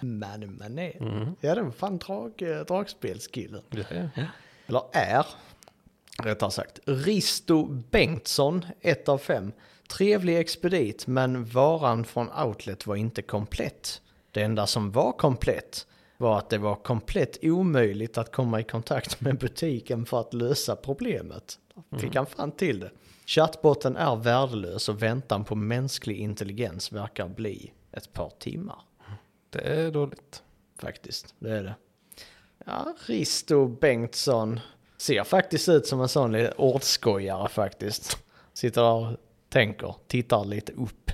Speaker 2: Mannen manet.
Speaker 1: Mm.
Speaker 2: Ja det var fan drag, eh, dragspelskillen.
Speaker 1: Ja, ja.
Speaker 2: Eller är. Rättare sagt. Risto Bengtsson, 1 av 5. Trevlig expedit men varan från Outlet var inte komplett. Det enda som var komplett var att det var komplett omöjligt att komma i kontakt med butiken för att lösa problemet. Fick han fan till det. Chattbotten är värdelös och väntan på mänsklig intelligens verkar bli ett par timmar
Speaker 1: Det är dåligt.
Speaker 2: faktiskt. Det är det. Ja, Risto Bengtsson ser faktiskt ut som en sån lite ordskojare faktiskt. Sitter där och tänker, tittar lite upp.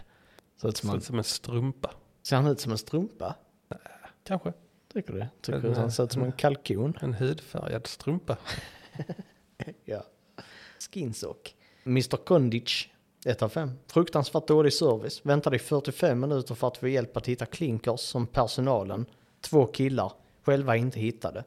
Speaker 2: Ser, ut som
Speaker 1: Ser
Speaker 2: en,
Speaker 1: ut som en strumpa.
Speaker 2: ser han ut som en strumpa?
Speaker 1: Kanske.
Speaker 2: Tycker du? Tycker du att han ser ut som en kalkon?
Speaker 1: En hudfärgad strumpa.
Speaker 2: Ja. Skinsock. Mr Kondic, 1 av 5. Fruktansvärt dålig service. Väntade i 45 minuter för att få hjälp att hitta klinkers som personalen, två killar, själva inte hittade.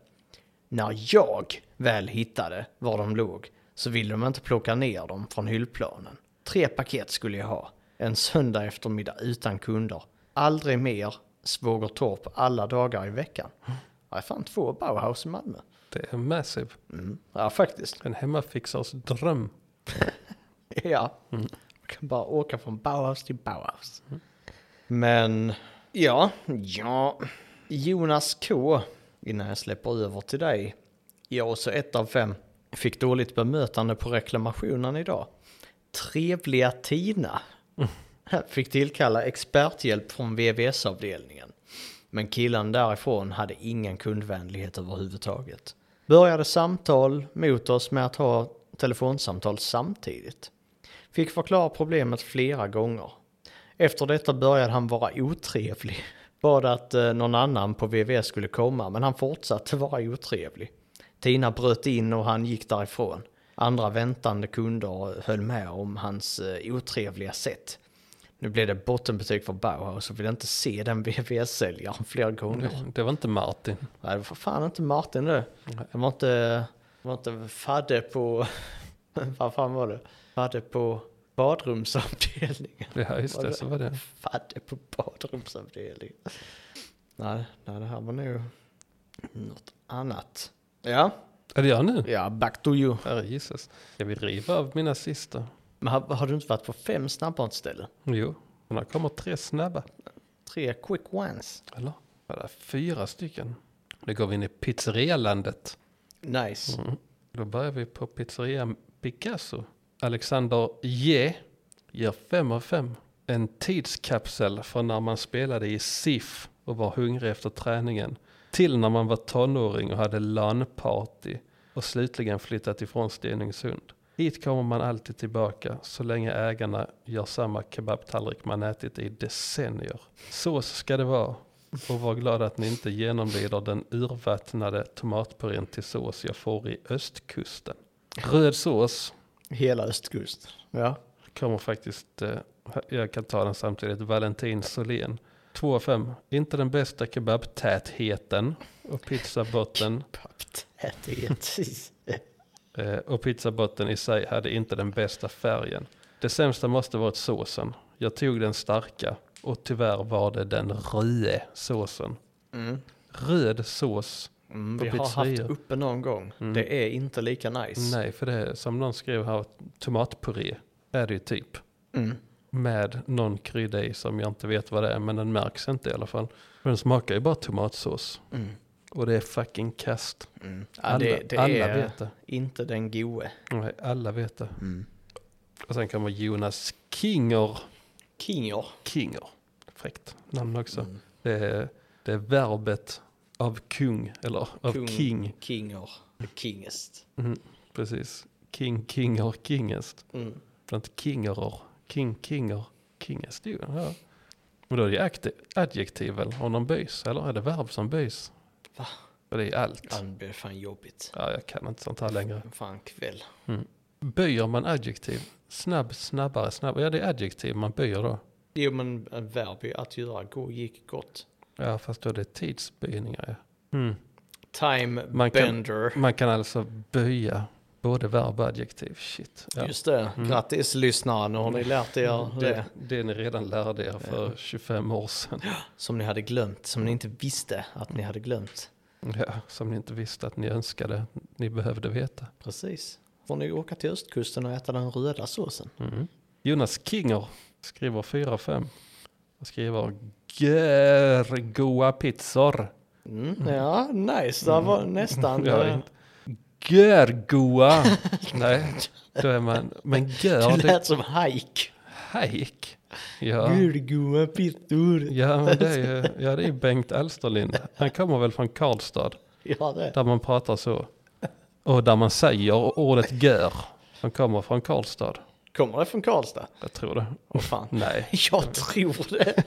Speaker 2: När jag väl hittade var de låg så ville de inte plocka ner dem från hyllplanen. Tre paket skulle jag ha. En söndag eftermiddag utan kunder. Aldrig mer Svågertorp alla dagar i veckan. Det är fan två Bauhaus i Malmö.
Speaker 1: Det är massive.
Speaker 2: Mm. Ja, faktiskt.
Speaker 1: En hemmafixars dröm.
Speaker 2: Ja. Man kan bara åka från Bauhaus till Bauhaus. Men, ja, ja. Jonas K, innan jag släpper över till dig. Jag och så ett av fem. Fick dåligt bemötande på reklamationen idag. Trevliga Tina. Fick tillkalla experthjälp från VVS-avdelningen. Men killen därifrån hade ingen kundvänlighet överhuvudtaget. Började samtal mot oss med att ha telefonsamtal samtidigt. Fick förklara problemet flera gånger. Efter detta började han vara otrevlig. Bad att eh, någon annan på VVS skulle komma, men han fortsatte vara otrevlig. Tina bröt in och han gick därifrån. Andra väntande kunder höll med om hans eh, otrevliga sätt. Nu blev det bottenbetyg för Bauhaus och vill inte se den VVS-säljaren fler gånger.
Speaker 1: Det var inte Martin.
Speaker 2: Nej, det var för fan inte Martin det.
Speaker 1: Nej.
Speaker 2: Jag var inte, jag var inte fadde på, vad fan var det? Fadde på badrumsavdelningen.
Speaker 1: Ja, just det. Så var det.
Speaker 2: Fadde på badrumsavdelningen. Nej, nej, det här var nog något annat. Ja,
Speaker 1: Är det jag nu?
Speaker 2: ja, back to you.
Speaker 1: Herre Jesus. Ska vi riva av mina sista?
Speaker 2: Men har, har du inte varit på fem snabbmatsställen?
Speaker 1: Jo. Men här kommer tre snabba.
Speaker 2: Tre quick ones.
Speaker 1: Eller? Var det fyra stycken? Nu går vi in i pizzerialandet.
Speaker 2: Nice.
Speaker 1: Mm. Då börjar vi på pizzeria Picasso. Alexander J ger 5 av 5. En tidskapsel från när man spelade i SIF och var hungrig efter träningen. Till när man var tonåring och hade LAN-party. Och slutligen flyttat ifrån Stenungsund. Hit kommer man alltid tillbaka så länge ägarna gör samma kebabtallrik man ätit i decennier. Så ska det vara. Och var glad att ni inte genomlider den urvattnade tomatpurén till sås jag får i östkusten. Röd sås
Speaker 2: Hela östkust. Ja.
Speaker 1: kommer faktiskt, eh, jag kan ta den samtidigt, Valentin Solén. 2 av 5. Inte den bästa kebabtätheten och pizzabotten.
Speaker 2: Papptäthet.
Speaker 1: Eh, och pizzabotten i sig hade inte den bästa färgen. Det sämsta måste varit såsen. Jag tog den starka och tyvärr var det den röda såsen.
Speaker 2: Mm.
Speaker 1: Röd sås.
Speaker 2: Mm,
Speaker 1: på
Speaker 2: vi har haft
Speaker 1: pizzerior.
Speaker 2: uppe någon gång.
Speaker 1: Mm.
Speaker 2: Det är inte lika nice.
Speaker 1: Nej, för det är, som någon skrev här, tomatpuré är det ju typ.
Speaker 2: Mm.
Speaker 1: Med någon krydda i som jag inte vet vad det är, men den märks inte i alla fall. För den smakar ju bara tomatsås.
Speaker 2: Mm.
Speaker 1: Och det är fucking kast.
Speaker 2: Mm. Ja,
Speaker 1: Alla,
Speaker 2: det, det
Speaker 1: alla
Speaker 2: är
Speaker 1: vet det.
Speaker 2: inte den goe.
Speaker 1: Nej, alla vet det.
Speaker 2: Mm.
Speaker 1: Och sen kommer Jonas Kinger.
Speaker 2: Kinger.
Speaker 1: Kinger. Fräckt namn också.
Speaker 2: Mm.
Speaker 1: Det, är, det är verbet av kung, eller av
Speaker 2: Kung.
Speaker 1: king. Mm,
Speaker 2: Kinger. The kingest.
Speaker 1: Precis. King, kinger, kingest.
Speaker 2: Mm.
Speaker 1: bland kingerer, king, kinger, kingest. ju, Ja. Men då är det ju akti- adjektiv eller om de böjs, eller är det verb som böjs?
Speaker 2: Va?
Speaker 1: Och det är allt.
Speaker 2: Fan, Det blir fan jobbigt.
Speaker 1: Ja, jag kan inte sånt här längre.
Speaker 2: Fan kväll.
Speaker 1: Böjer man adjektiv? Snabb, snabbare, snabbare. Ja, det är adjektiv man böjer då.
Speaker 2: Jo men en verb är att göra. Gå gick gott.
Speaker 1: Ja, fast då är det tidsböjningar. Ja. Mm.
Speaker 2: Time
Speaker 1: Man kan-
Speaker 2: bender.
Speaker 1: Man kan alltså böja både verb och adjektiv. Shit. Ja. Mm.
Speaker 2: Just det. Grattis lyssnare. Nu har ni lärt er
Speaker 1: det,
Speaker 2: det
Speaker 1: det ni redan lärde er för 25 år sedan.
Speaker 2: som ni hade glömt. Som ni inte visste att ni hade glömt.
Speaker 1: Ja, som ni inte visste att ni önskade ni behövde veta.
Speaker 2: Precis. Får ni åka till östkusten och äta den röda såsen.
Speaker 1: Mm. Jonas Kinger skriver 4 5. Och skriver gör goa pizzor.
Speaker 2: Mm. Ja, nice. Det var nästan...
Speaker 1: Ja,
Speaker 2: eh,
Speaker 1: Mm. inte. Gör goa. Nej, då är man. Men gör
Speaker 2: det
Speaker 1: det
Speaker 2: lät som hajk.
Speaker 1: hajk. Ja.
Speaker 2: Gulgoa pittor.
Speaker 1: Ja, men det är ju ja, det är Bengt Alsterlind. Han kommer väl från Karlstad.
Speaker 2: Ja, det.
Speaker 1: Där man pratar så. Och där man säger ordet gör. Som kommer från Karlstad.
Speaker 2: Kommer det från Karlstad?
Speaker 1: Jag tror det.
Speaker 2: Åh fan.
Speaker 1: Nej.
Speaker 2: Jag tror det.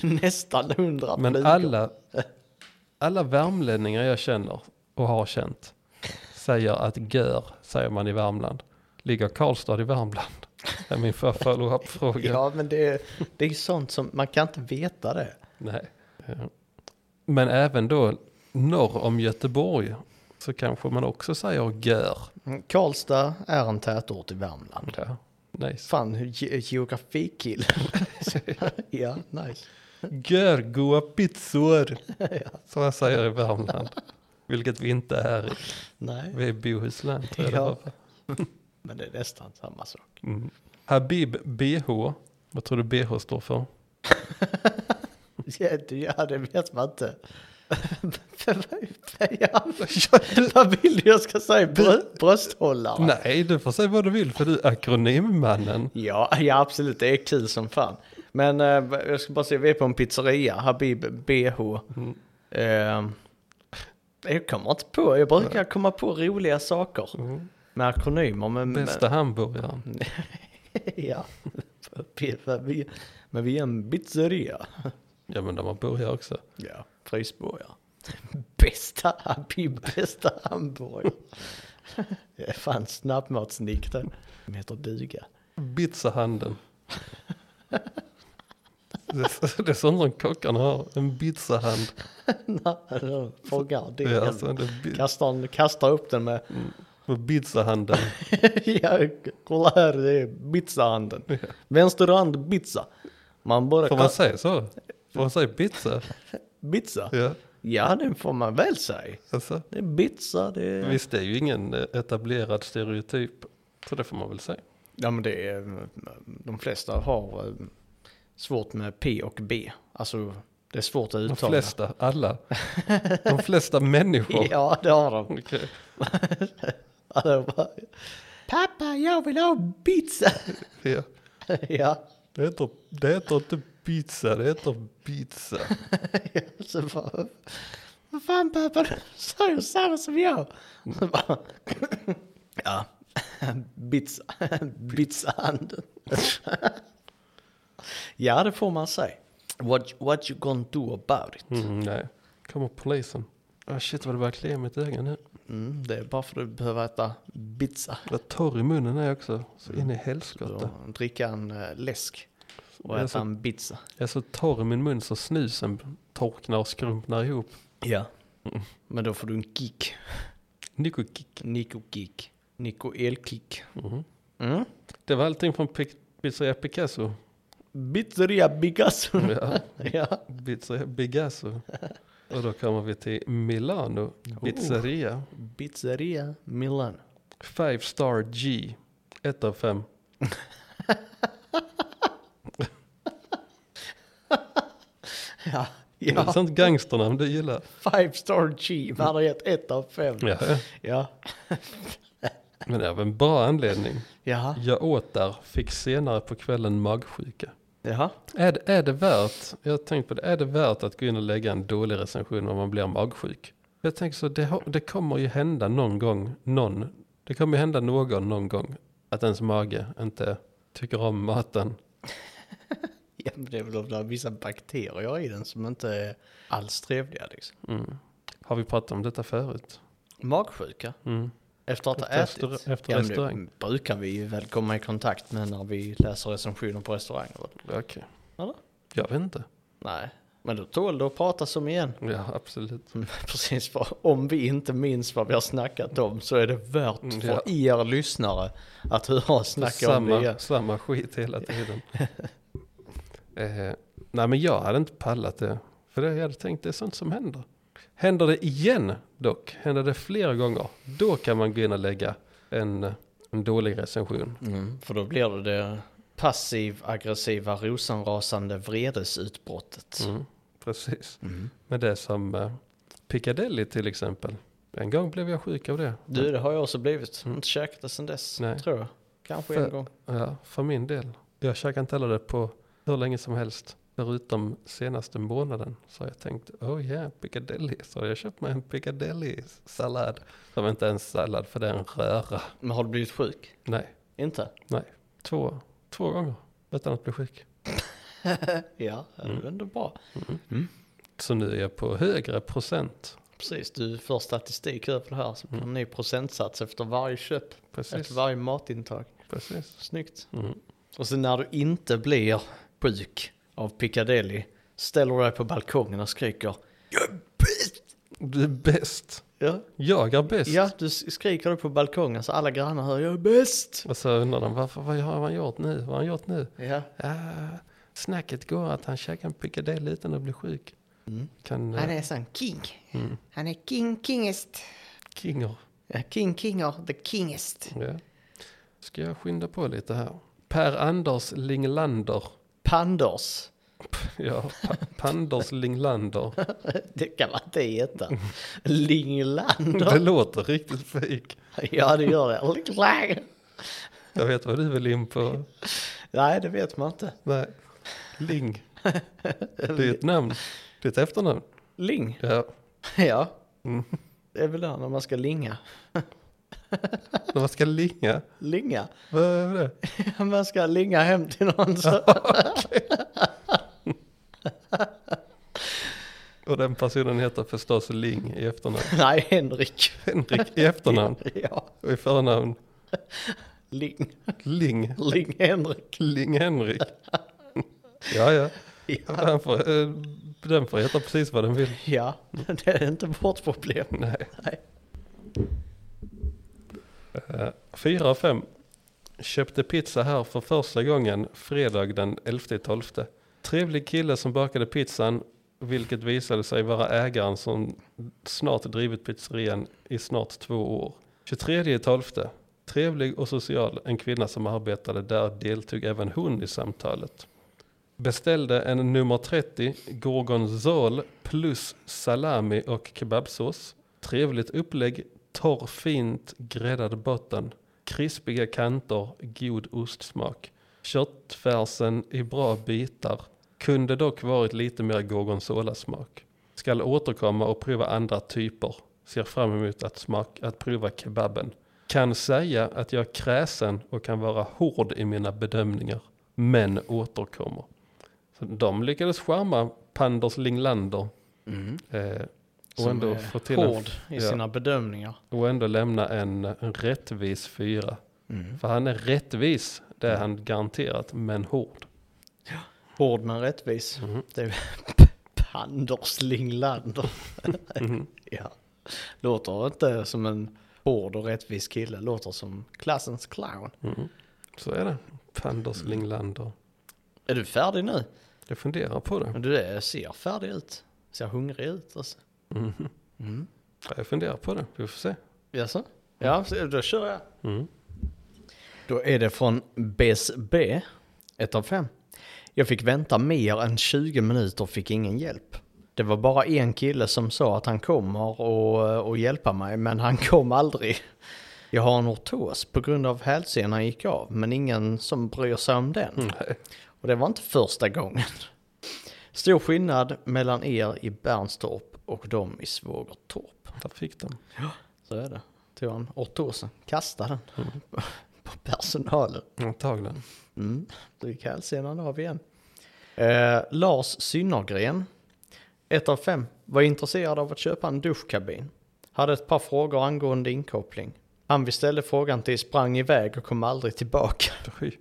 Speaker 2: Nästan hundra
Speaker 1: Men
Speaker 2: flugor.
Speaker 1: alla, alla värmlänningar jag känner och har känt säger att gör säger man i Värmland. Ligger Karlstad i Värmland? Det är min för- follow-up-fråga.
Speaker 2: Ja, men det, det är ju sånt som man kan inte veta det.
Speaker 1: Nej. Ja. Men även då norr om Göteborg så kanske man också säger gör.
Speaker 2: Mm, Karlstad är en tätort i Värmland.
Speaker 1: Ja. Nice.
Speaker 2: Fan, ge geografikille. ja, nice.
Speaker 1: Gör goa pizzor. Som jag säger i Värmland. Vilket vi inte är i.
Speaker 2: Nej,
Speaker 1: Vi är i Bohuslän tror jag det
Speaker 2: Ja.
Speaker 1: var.
Speaker 2: men det är nästan samma sak.
Speaker 1: Mm. Habib BH, vad tror du BH står för?
Speaker 2: Ja, du- ja det vet man inte. ja, vad vill du jag ska säga? Brö brösthållare?
Speaker 1: Nej, du får säga vad du vill för du är akronimmannen.
Speaker 2: Ja, ja, absolut. Det är kul som fan. Men eh, jag ska bara se, vi är på en pizzeria, Habib BH. Eh, jag kommer inte på, jag brukar komma på roliga saker
Speaker 1: Mm.
Speaker 2: med akronymer. Men, men,
Speaker 1: Bästa hamburgaren.
Speaker 2: ja. Men vi- men vi är en pizzeria.
Speaker 1: Ja men de har burgare också.
Speaker 2: Ja, frysburgare. Bästa Habib, bästa hamburgare. Det är fan snabbmatsnick det. De heter duga.
Speaker 1: Pizzahanden. Det är- det är sånt som kockarna har, en pizzahand.
Speaker 2: Nej, de Fångar
Speaker 1: Det är
Speaker 2: dugan.
Speaker 1: alltså det bi-
Speaker 2: Kastar, den- kastar upp den med,
Speaker 1: med pizzahanden.
Speaker 2: ja, kolla här det är pizzahanden. Vänsterhand pizza. Man bara,
Speaker 1: Får man säga så? Får man säga pizza?
Speaker 2: pizza?
Speaker 1: Ja,
Speaker 2: Ja det får man väl säga.
Speaker 1: alltså.
Speaker 2: Det är pizza, det är...
Speaker 1: Visst det är ju ingen eh, etablerad stereotyp. Så det får man väl säga.
Speaker 2: Ja men det är, de flesta har eh, svårt med P och B. Alltså det är svårt att
Speaker 1: De
Speaker 2: uttala.
Speaker 1: flesta, alla. De flesta människor.
Speaker 2: Ja det har de.
Speaker 1: Okej.
Speaker 2: Alla bara, Pappa jag vill ha pizza.
Speaker 1: Ja.
Speaker 2: ja,
Speaker 1: Det, heter, det heter inte pizza, det heter pizza.
Speaker 2: så bara, vad fan pappa du sa ju samma som jag. Så
Speaker 1: Mm.
Speaker 2: bara, ja, pizza, pizzahanden. ja det får man säga. What, what you gonna do about it?
Speaker 1: Mm, nej. Kommer polisen. Ah shit vad det börjar klia i mitt öga nu.
Speaker 2: Mm, det är bara för att du behöver äta pizza.
Speaker 1: Jag är torr i munnen är jag också. Så in i helskotta.
Speaker 2: Och dricka en eh, läsk och
Speaker 1: Jag är
Speaker 2: äta
Speaker 1: så-
Speaker 2: en pizza.
Speaker 1: Jag är så torr i min mun så snusen torknar och skrumpnar ihop.
Speaker 2: Ja. Men då får du en kick.
Speaker 1: Nikokick.
Speaker 2: Nico-kick. Nico-elkick.
Speaker 1: Mhm.
Speaker 2: Mm.
Speaker 1: Det var allting från Pic- Pizzeria Picasso.
Speaker 2: Pizzeria Bigasso.
Speaker 1: Ja,
Speaker 2: ja.
Speaker 1: Pizzeria Bigasso. Och då kommer vi till Milano. Pizzeria.
Speaker 2: Pizzeria Milan.
Speaker 1: Five star G. Ett av fem.
Speaker 2: Ja.
Speaker 1: Det är
Speaker 2: ja.
Speaker 1: sånt gangsternamn du gillar.
Speaker 2: Five star G. Man har gett ett av fem.
Speaker 1: Ja.
Speaker 2: Ja.
Speaker 1: Men det var en bra anledning.
Speaker 2: Jaha.
Speaker 1: Jag åt där, fick senare på kvällen magsjuka.
Speaker 2: Jaha.
Speaker 1: Är det, är det värt, jag har tänkt på det, är det värt att gå in och lägga en dålig recension om man blir magsjuk? Jag tänker så, det, har- det kommer ju hända någon gång, någon, det kommer ju hända någon någon gång att ens mage inte tycker om maten.
Speaker 2: Ja, men det är väl om det är vissa bakterier i den som inte är alls trevliga liksom.
Speaker 1: Mm. Har vi pratat om detta förut?
Speaker 2: Magsjuka.
Speaker 1: Mm.
Speaker 2: Efter att ha
Speaker 1: Efter
Speaker 2: ätit?
Speaker 1: restaur- efter
Speaker 2: ja, men
Speaker 1: restaurang.
Speaker 2: Det brukar vi ju väl komma i kontakt med när vi läser recensioner på restauranger.
Speaker 1: Okej.
Speaker 2: Eller?
Speaker 1: Jag vet inte.
Speaker 2: Nej, men då tål det att pratas om igen.
Speaker 1: Ja, absolut.
Speaker 2: Mm, Precis, för om vi inte minns vad vi har snackat om så är det värt
Speaker 1: Mm,
Speaker 2: för
Speaker 1: ja.
Speaker 2: er lyssnare att höra oss snacka om det igen.
Speaker 1: Samma, samma skit hela tiden. eh, nej men jag hade inte pallat det. För det jag hade tänkt, det är sånt som händer. Händer det igen dock, händer det flera gånger, då kan man gå in och lägga en, en dålig recension.
Speaker 2: Mm, för då blir det det passiv-aggressiva rosenrasande vredesutbrottet. Mm.
Speaker 1: Mm, precis. Men det är som eh, Piccadilly till exempel. En gång blev jag sjuk av det.
Speaker 2: Du, det har jag också blivit. Inte käkat det sedan dess,
Speaker 1: Mm. Nej.
Speaker 2: tror jag. Kanske
Speaker 1: För-
Speaker 2: en gång.
Speaker 1: Ja, för min del. Jag käkade inte heller det på hur länge som helst. Förutom senaste månaden så har jag tänkt, oh yeah, piccadilly. Så har jag köpt mig en piccadilly-sallad. Som inte är en sallad, för det är en röra.
Speaker 2: Men har du blivit sjuk?
Speaker 1: Nej,
Speaker 2: Inte?
Speaker 1: två, två gånger utan att bli sjuk.
Speaker 2: ja,
Speaker 1: Mm.
Speaker 2: det är ändå bra.
Speaker 1: Så nu är jag på högre procent.
Speaker 2: Precis, du får statistik över det här. Så mm. En ny procentsats efter varje köp,
Speaker 1: Precis,
Speaker 2: efter varje matintag.
Speaker 1: precis.
Speaker 2: Snyggt.
Speaker 1: Mm.
Speaker 2: Och sen när du inte blir sjuk av Piccadilly ställer du dig på balkongen och skriker.
Speaker 1: Du är bäst.
Speaker 2: Ja,
Speaker 1: Jag är bäst.
Speaker 2: ja du s- skriker du på balkongen så alla grannar hör jag är bäst.
Speaker 1: Och så undrar de, varför, vad har han gjort nu? Vad har han gjort nu?
Speaker 2: Ja.
Speaker 1: Ah, snacket går att han käkar en piccadilly utan att bli sjuk.
Speaker 2: Mm.
Speaker 1: Kan,
Speaker 3: Han
Speaker 1: eh,
Speaker 3: är sån king.
Speaker 1: Mm.
Speaker 3: Han är king kingest.
Speaker 1: kinger.
Speaker 2: Ja,
Speaker 3: King kinger, the kingest.
Speaker 1: Ja. Ska jag skynda på lite här? Per Anders Linglander.
Speaker 2: Pandors.
Speaker 1: Ja, pa Panders Linglander.
Speaker 2: Det kan man inte heta.
Speaker 1: Det
Speaker 2: Linglander.
Speaker 1: låter riktigt fejk.
Speaker 2: Ja, det gör det. Linglander.
Speaker 1: Jag vet vad du vill in på.
Speaker 2: Nej, det vet man inte.
Speaker 1: Nej. Ling. Det är ett namn. Det är ett efternamn.
Speaker 2: Ling.
Speaker 1: Ja.
Speaker 2: Ja.
Speaker 1: Mm.
Speaker 2: Det är väl där när man ska linga.
Speaker 1: När man ska linga.
Speaker 2: Linga?
Speaker 1: Vad är det?
Speaker 2: Man ska linga hem till någon så...
Speaker 1: Och den personen heter förstås Ling i efternamn.
Speaker 2: Nej, Henrik.
Speaker 1: Henrik i efternamn.
Speaker 2: Ja,
Speaker 1: Och i förnamn
Speaker 2: Ling.
Speaker 1: Ling.
Speaker 2: Ling Henrik.
Speaker 1: Ling Henrik. Ja, ja.
Speaker 2: Ja,
Speaker 1: Den får, eh, den får heta precis vad den vill.
Speaker 2: ja. det är inte vårt problem.
Speaker 1: Nej.
Speaker 2: Nej.
Speaker 1: Eh, Fyra av fem. Köpte pizza här för första gången fredag den 11-12. Trevlig kille som bakade pizzan, vilket visade sig vara ägaren som snart drivit pizzerian i snart två år. 23-12. Trevlig och social, en kvinna som arbetade där deltog även hon i samtalet. Beställde en nummer 30 gorgonzol plus salami och kebabsås. Trevligt upplägg, torr fint gräddad botten, krispiga kanter, god ostsmak. Köttfärsen i bra bitar. Kunde dock varit lite mer gorgonzola-smak. Skall återkomma och prova andra typer. Ser fram emot att, smak, att prova kebaben. Kan säga att jag är kräsen och kan vara hård i mina bedömningar. Men återkommer. Så de lyckades charma Panders Linglander. Eh, och
Speaker 2: Som
Speaker 1: ändå
Speaker 2: är
Speaker 1: få till en
Speaker 2: hård i
Speaker 1: ja.
Speaker 2: sina bedömningar.
Speaker 1: och ändå lämna en, en rättvis fyra. För han är rättvis, det är han garanterat, men hård.
Speaker 2: Hård men rättvis.
Speaker 1: Mm.
Speaker 2: Det är Pandors Linglander.
Speaker 1: Mm.
Speaker 2: ja. Låter inte som en hård och rättvis kille. Låter som klassens clown.
Speaker 1: Mm. Så är det. Panders Linglander.
Speaker 2: Är du färdig nu?
Speaker 1: Jag funderar på det.
Speaker 2: Men du är, ser färdig ut. Ser hungrig ut alltså.
Speaker 1: Mhm.
Speaker 2: Mm.
Speaker 1: Jag funderar på det. Vi får se.
Speaker 2: Jaså? Ja, så då kör jag.
Speaker 1: Mm.
Speaker 2: Då är det från BSB, 1 av 5. Jag fick vänta mer än 20 minuter och fick ingen hjälp. Det var bara en kille som sa att han kommer och, och hjälpa mig, men han kom aldrig. Jag har en ortos på grund av hälsenan gick av, men ingen som bryr sig om den.
Speaker 1: Nej.
Speaker 2: Och det var inte första gången. Stor skillnad mellan er i Bernstorp och dem i Svågertorp.
Speaker 1: Där fick de.
Speaker 2: Så är det. Tog han ortosen, kastade den på personalen.
Speaker 1: Antagligen.
Speaker 2: Mm. Då gick hälsenan av igen. Eh, Lars Synnergren, 1 av 5, var intresserad av att köpa en duschkabin. Hade ett par frågor angående inkoppling. Han vi ställde frågan till sprang iväg och kom aldrig tillbaka.
Speaker 1: Oj.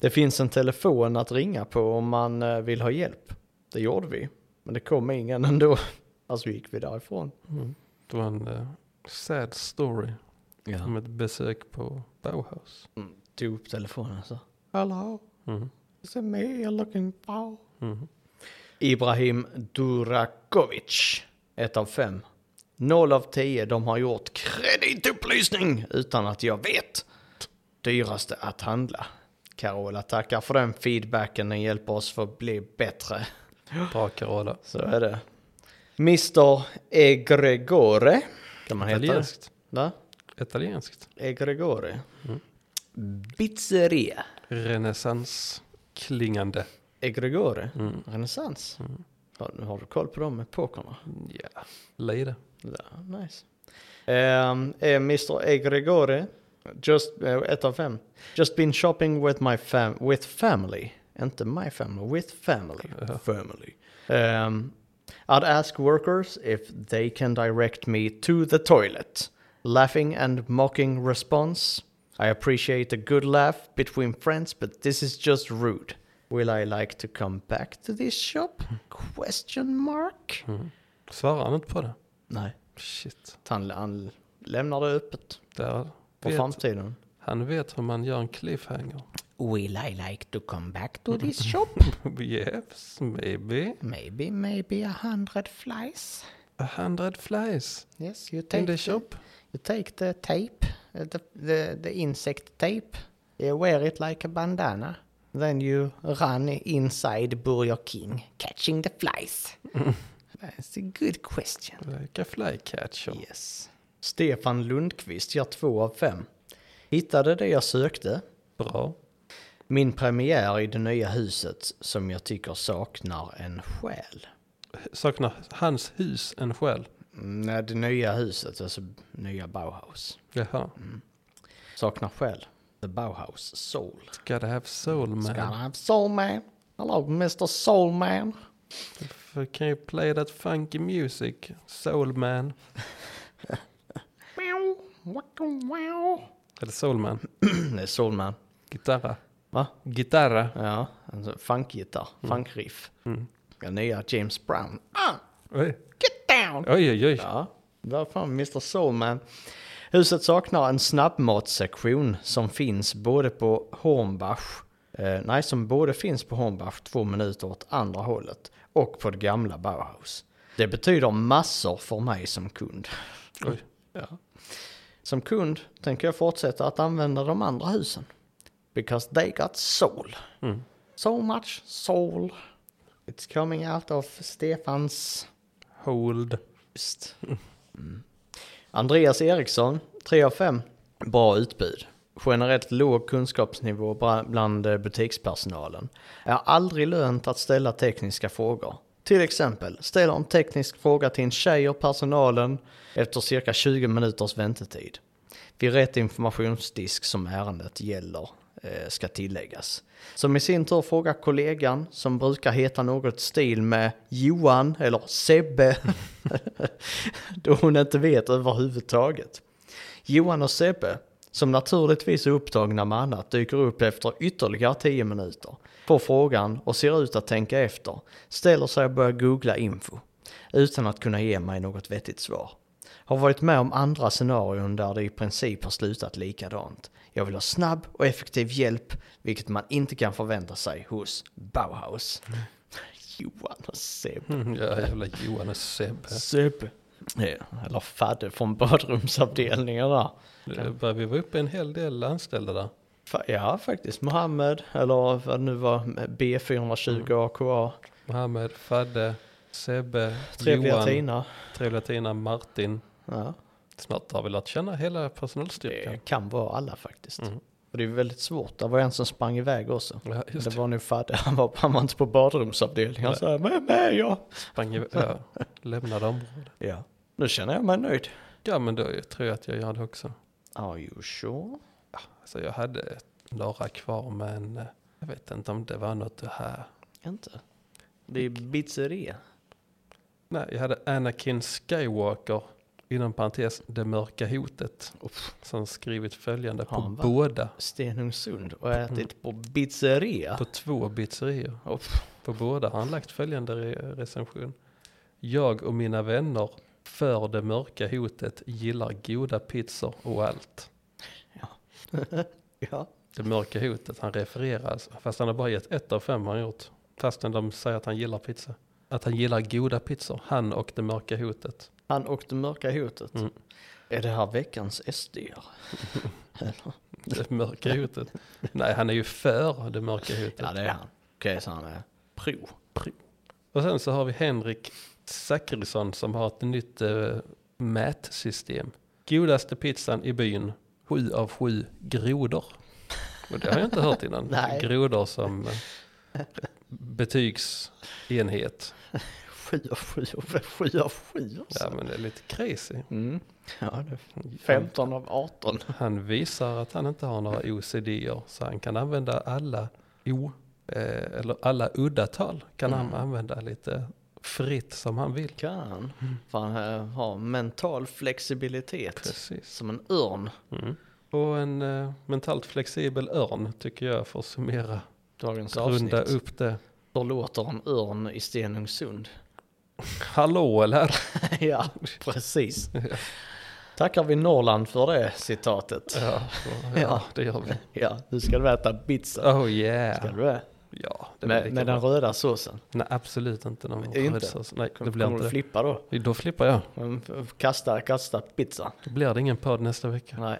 Speaker 2: Det finns en telefon att ringa på om man eh, vill ha hjälp. Det gjorde vi, men det kom ingen ändå. Alltså gick vi därifrån.
Speaker 1: Mm. Det var en eh, sad story
Speaker 2: Ja.
Speaker 1: om ett besök på Bauhaus.
Speaker 2: Tog upp telefonen så. Hallå,
Speaker 1: Mm.
Speaker 2: is it me you're looking for?
Speaker 1: Mm.
Speaker 2: Ibrahim Durakovic, 1 av 5. 0 av 10, de har gjort kreditupplysning utan att jag vet. Dyraste att handla. Carola tackar för den feedbacken, den hjälper oss för att bli bättre.
Speaker 1: Bra Carola.
Speaker 2: Så är det. Mr Egregore, kan man heta det?
Speaker 1: Italienskt.
Speaker 2: Va?
Speaker 1: Italienskt.
Speaker 2: Egregore. Pizzeria.
Speaker 1: Renässans. Klingande.
Speaker 2: Egregore.
Speaker 1: Mm.
Speaker 2: Renässans.
Speaker 1: Mm.
Speaker 2: Har, har du koll på de epokerna?
Speaker 1: Ja, lite.
Speaker 2: Ja, nice. Ehm, är Mr. Egregore, just, eh, ett av fem. Just been shopping with my fam with family. Inte my family, with family.
Speaker 1: Ja.
Speaker 2: Family. Ehm, I'd ask workers if they can direct me to the toilet. Laughing and mocking response. I appreciate a good laugh between friends, but this is just rude. Will I like to come back to this shop? Question mark?
Speaker 1: Mm. Svarar han inte på det?
Speaker 2: Nej.
Speaker 1: Shit.
Speaker 2: Han, han lämnar det öppet
Speaker 1: Där
Speaker 2: för
Speaker 1: vet,
Speaker 2: framtiden.
Speaker 1: han vet hur man gör en cliffhanger.
Speaker 3: Will I like to come back to this shop?
Speaker 1: yes, maybe.
Speaker 3: Maybe, maybe a hundred flies.
Speaker 1: A hundred flies
Speaker 3: Yes, you
Speaker 1: in
Speaker 3: take
Speaker 1: the
Speaker 3: the,
Speaker 1: shop.
Speaker 3: you take the tape, uh, the, the, the insect tape. You wear it like a bandana.
Speaker 2: Then you...
Speaker 3: Run inside Burger King, catching the flies. That's a good question.
Speaker 1: Like a fly catcher.
Speaker 2: Yes. Stefan Lundqvist gör två av fem. Hittade det jag sökte.
Speaker 1: Bra.
Speaker 2: Min premiär i det nya huset som jag tycker saknar en själ.
Speaker 1: Saknar hans hus en själ?
Speaker 2: Mm, Nej, det nya huset, alltså nya Bauhaus.
Speaker 1: Jaha.
Speaker 2: Saknar själ. The Bauhaus Soul.
Speaker 1: Gotta have soul man.
Speaker 2: Ska han ha Soul Man? Hello Mr Soul Man.
Speaker 1: F- Can you play that funky music? Soul man.
Speaker 2: Meow, wacko, wow.
Speaker 1: Eller soul man.
Speaker 2: Det är Soul Man.
Speaker 1: Gitarra.
Speaker 2: Va?
Speaker 1: Gitarra.
Speaker 2: Ja, alltså funkgitarr, funkriff.
Speaker 1: Mm.
Speaker 2: Den nya James Brown. Ah,
Speaker 1: Oj,
Speaker 2: get down!
Speaker 1: oj, oj. oj.
Speaker 2: Ja, där fan Mr Soulman. Huset seknar en snabbmatssektion som finns både på Hornbach, eh, nej som både finns på Hornbach två minuter åt andra hållet och på det gamla Bauhaus. Det betyder massor för mig som kund.
Speaker 1: oj.
Speaker 2: Som kund tänker jag fortsätta att använda de andra husen. Because they got soul.
Speaker 1: Mm.
Speaker 2: So much soul. It's coming out of Stefans
Speaker 1: Hold.
Speaker 2: Just. Mm. Andreas Eriksson, 3 av 5. Bra utbud. Generellt låg kunskapsnivå bra- bland eh, butikspersonalen. Är aldrig lönt att ställa tekniska frågor. Till exempel, ställer en teknisk fråga till en tjej och personalen efter cirka 20 minuters väntetid. Vid rätt informationsdisk som ärendet gäller eh, ska tilläggas. Som i sin tur frågar kollegan som brukar heta något stil med Johan eller Sebbe då hon inte vet överhuvudtaget. Johan och Sebbe, som naturligtvis är upptagna med annat, dyker upp efter ytterligare 10 minuter. Får frågan och ser ut att tänka efter, ställer sig och börjar googla info. Utan att kunna ge mig något vettigt svar. Har varit med om andra scenarion där det i princip har slutat likadant. Jag vill ha snabb och effektiv hjälp, vilket man inte kan förvänta sig hos Bauhaus. Johan och Sebbe.
Speaker 1: Mm, Ja, jävla Johan och Sebbe.
Speaker 2: Sebbe. Eller fadde från badrumsavdelningen där.
Speaker 1: Det börjar vi vara uppe en hel del anställda där.
Speaker 2: Fa- Ja, faktiskt. Mohammed, eller vad det nu var,
Speaker 1: Mm.
Speaker 2: B420 AKA.
Speaker 1: Mohammed, Fadde, Sebbe,
Speaker 2: Trevliga
Speaker 1: Johan,
Speaker 2: Tina.
Speaker 1: Trevliga Tina, Martin.
Speaker 2: Ja,
Speaker 1: Snart har vi lärt känna hela personalstyrkan.
Speaker 2: det kan vara alla faktiskt.
Speaker 1: Typ, Mm.
Speaker 2: Och det är väldigt svårt. Det var en som sprang iväg också.
Speaker 1: Ja, just
Speaker 2: Det
Speaker 1: det.
Speaker 2: var nu Fadde, han var, han var inte på badrumsavdelningen. Han sa med, med jag.
Speaker 1: Sprang iväg. Ja, lämnade området.
Speaker 2: Ja. Nu känner jag mig nöjd.
Speaker 1: Ja, men då tror jag att jag gör det också.
Speaker 2: Are you sure?
Speaker 1: Alltså, jag hade några kvar, men eh, jag vet inte om det var något det här.
Speaker 2: Inte. Det är pizzeria.
Speaker 1: Nej, jag hade Anakin Skywalker, inom parentes det mörka hotet, som skrivit följande på
Speaker 2: Har han va?
Speaker 1: båda.
Speaker 2: Stenungsund och ätit på pizzeria.
Speaker 1: På två pizzerior.
Speaker 2: Oh.
Speaker 1: På båda har han lagt följande re- recension. Jag och mina vänner för det mörka hotet gillar goda pizzor och allt.
Speaker 2: Ja.
Speaker 1: Det mörka hotet, han refererar alltså, fast han har bara gett ett av fem har han gjort. Fastän de säger att han gillar pizza. Att han gillar goda pizzor, han och det mörka hotet.
Speaker 2: Han och det mörka hotet.
Speaker 1: Mm.
Speaker 2: Är det här veckans SD? Eller?
Speaker 1: Det mörka hotet. Nej, han är ju för det mörka hotet.
Speaker 2: ja, det är han. Okej, så han är pro.
Speaker 1: Och sen så har vi Henrik Zackrisson som har ett nytt eh, mätsystem. Godaste pizzan i byn, sju av sju grodor. Och det har jag inte hört innan.
Speaker 2: Nej.
Speaker 1: Grodor som eh, betygsenhet.
Speaker 2: Sju av sju av sju av sju.
Speaker 1: Ja, men det är lite crazy.
Speaker 2: Mm. Ja, det är
Speaker 1: Han,
Speaker 2: 15 av 18.
Speaker 1: han visar att han inte har några OCD-er, så han kan använda alla o, eh, eller alla udda tal kan
Speaker 2: Mm.
Speaker 1: han använda lite fritt som han vill.
Speaker 2: Kan. För han eh, har mental flexibilitet.
Speaker 1: Precis.
Speaker 2: Som en örn.
Speaker 1: Mm. Och en eh, mentalt flexibel örn tycker jag får summera,
Speaker 2: Dagens avsnitt.
Speaker 1: runda upp det.
Speaker 2: Då låter en örn i Stenungsund.
Speaker 1: Hallå eller?
Speaker 2: ja, precis. Tackar vi Norrland för det citatet.
Speaker 1: Ja, ja,
Speaker 2: Ja.
Speaker 1: det gör vi.
Speaker 2: Ja, nu ska du äta pizza.
Speaker 1: Oh
Speaker 2: Ska
Speaker 1: yeah.
Speaker 2: du det?
Speaker 1: Ja, det blir
Speaker 2: Med,
Speaker 1: lika
Speaker 2: med
Speaker 1: bra.
Speaker 2: den röda såsen.
Speaker 1: Nej, absolut inte någon
Speaker 2: Inte?
Speaker 1: röd sås. Nej, det blir
Speaker 2: Kommer du
Speaker 1: inte det.
Speaker 2: flippa då?
Speaker 1: Då flippar jag.
Speaker 2: Mm, f- Kasta, kasta pizza.
Speaker 1: Då blir det ingen podd nästa vecka.
Speaker 2: Nej,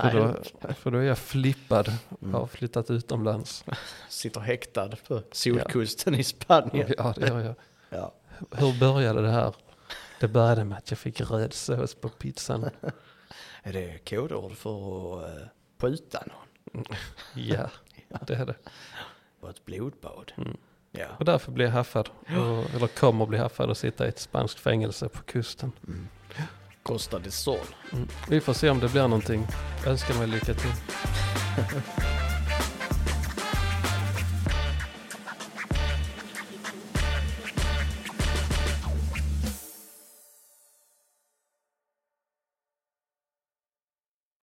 Speaker 1: För
Speaker 2: nej. Mm.
Speaker 1: då, för då är jag flippad. Jag har flyttat utomlands.
Speaker 2: Sitter häktad på solkusten i Spanien.
Speaker 1: Ja, det gör jag.
Speaker 2: Ja.
Speaker 1: Hur började det här? Det började med att jag fick röd sås på pizzan.
Speaker 2: Är det kodord för att eh, skjuta någon?
Speaker 1: Ja, det är det.
Speaker 2: På ett blodbad?
Speaker 1: Mm.
Speaker 2: Ja.
Speaker 1: Och därför blir jag haffad. Och, eller kommer bli haffad och sitta i ett spanskt fängelse på kusten.
Speaker 2: Costa del Sol.
Speaker 1: Mm. Vi får se om det blir någonting. Jag önskar mig lycka till.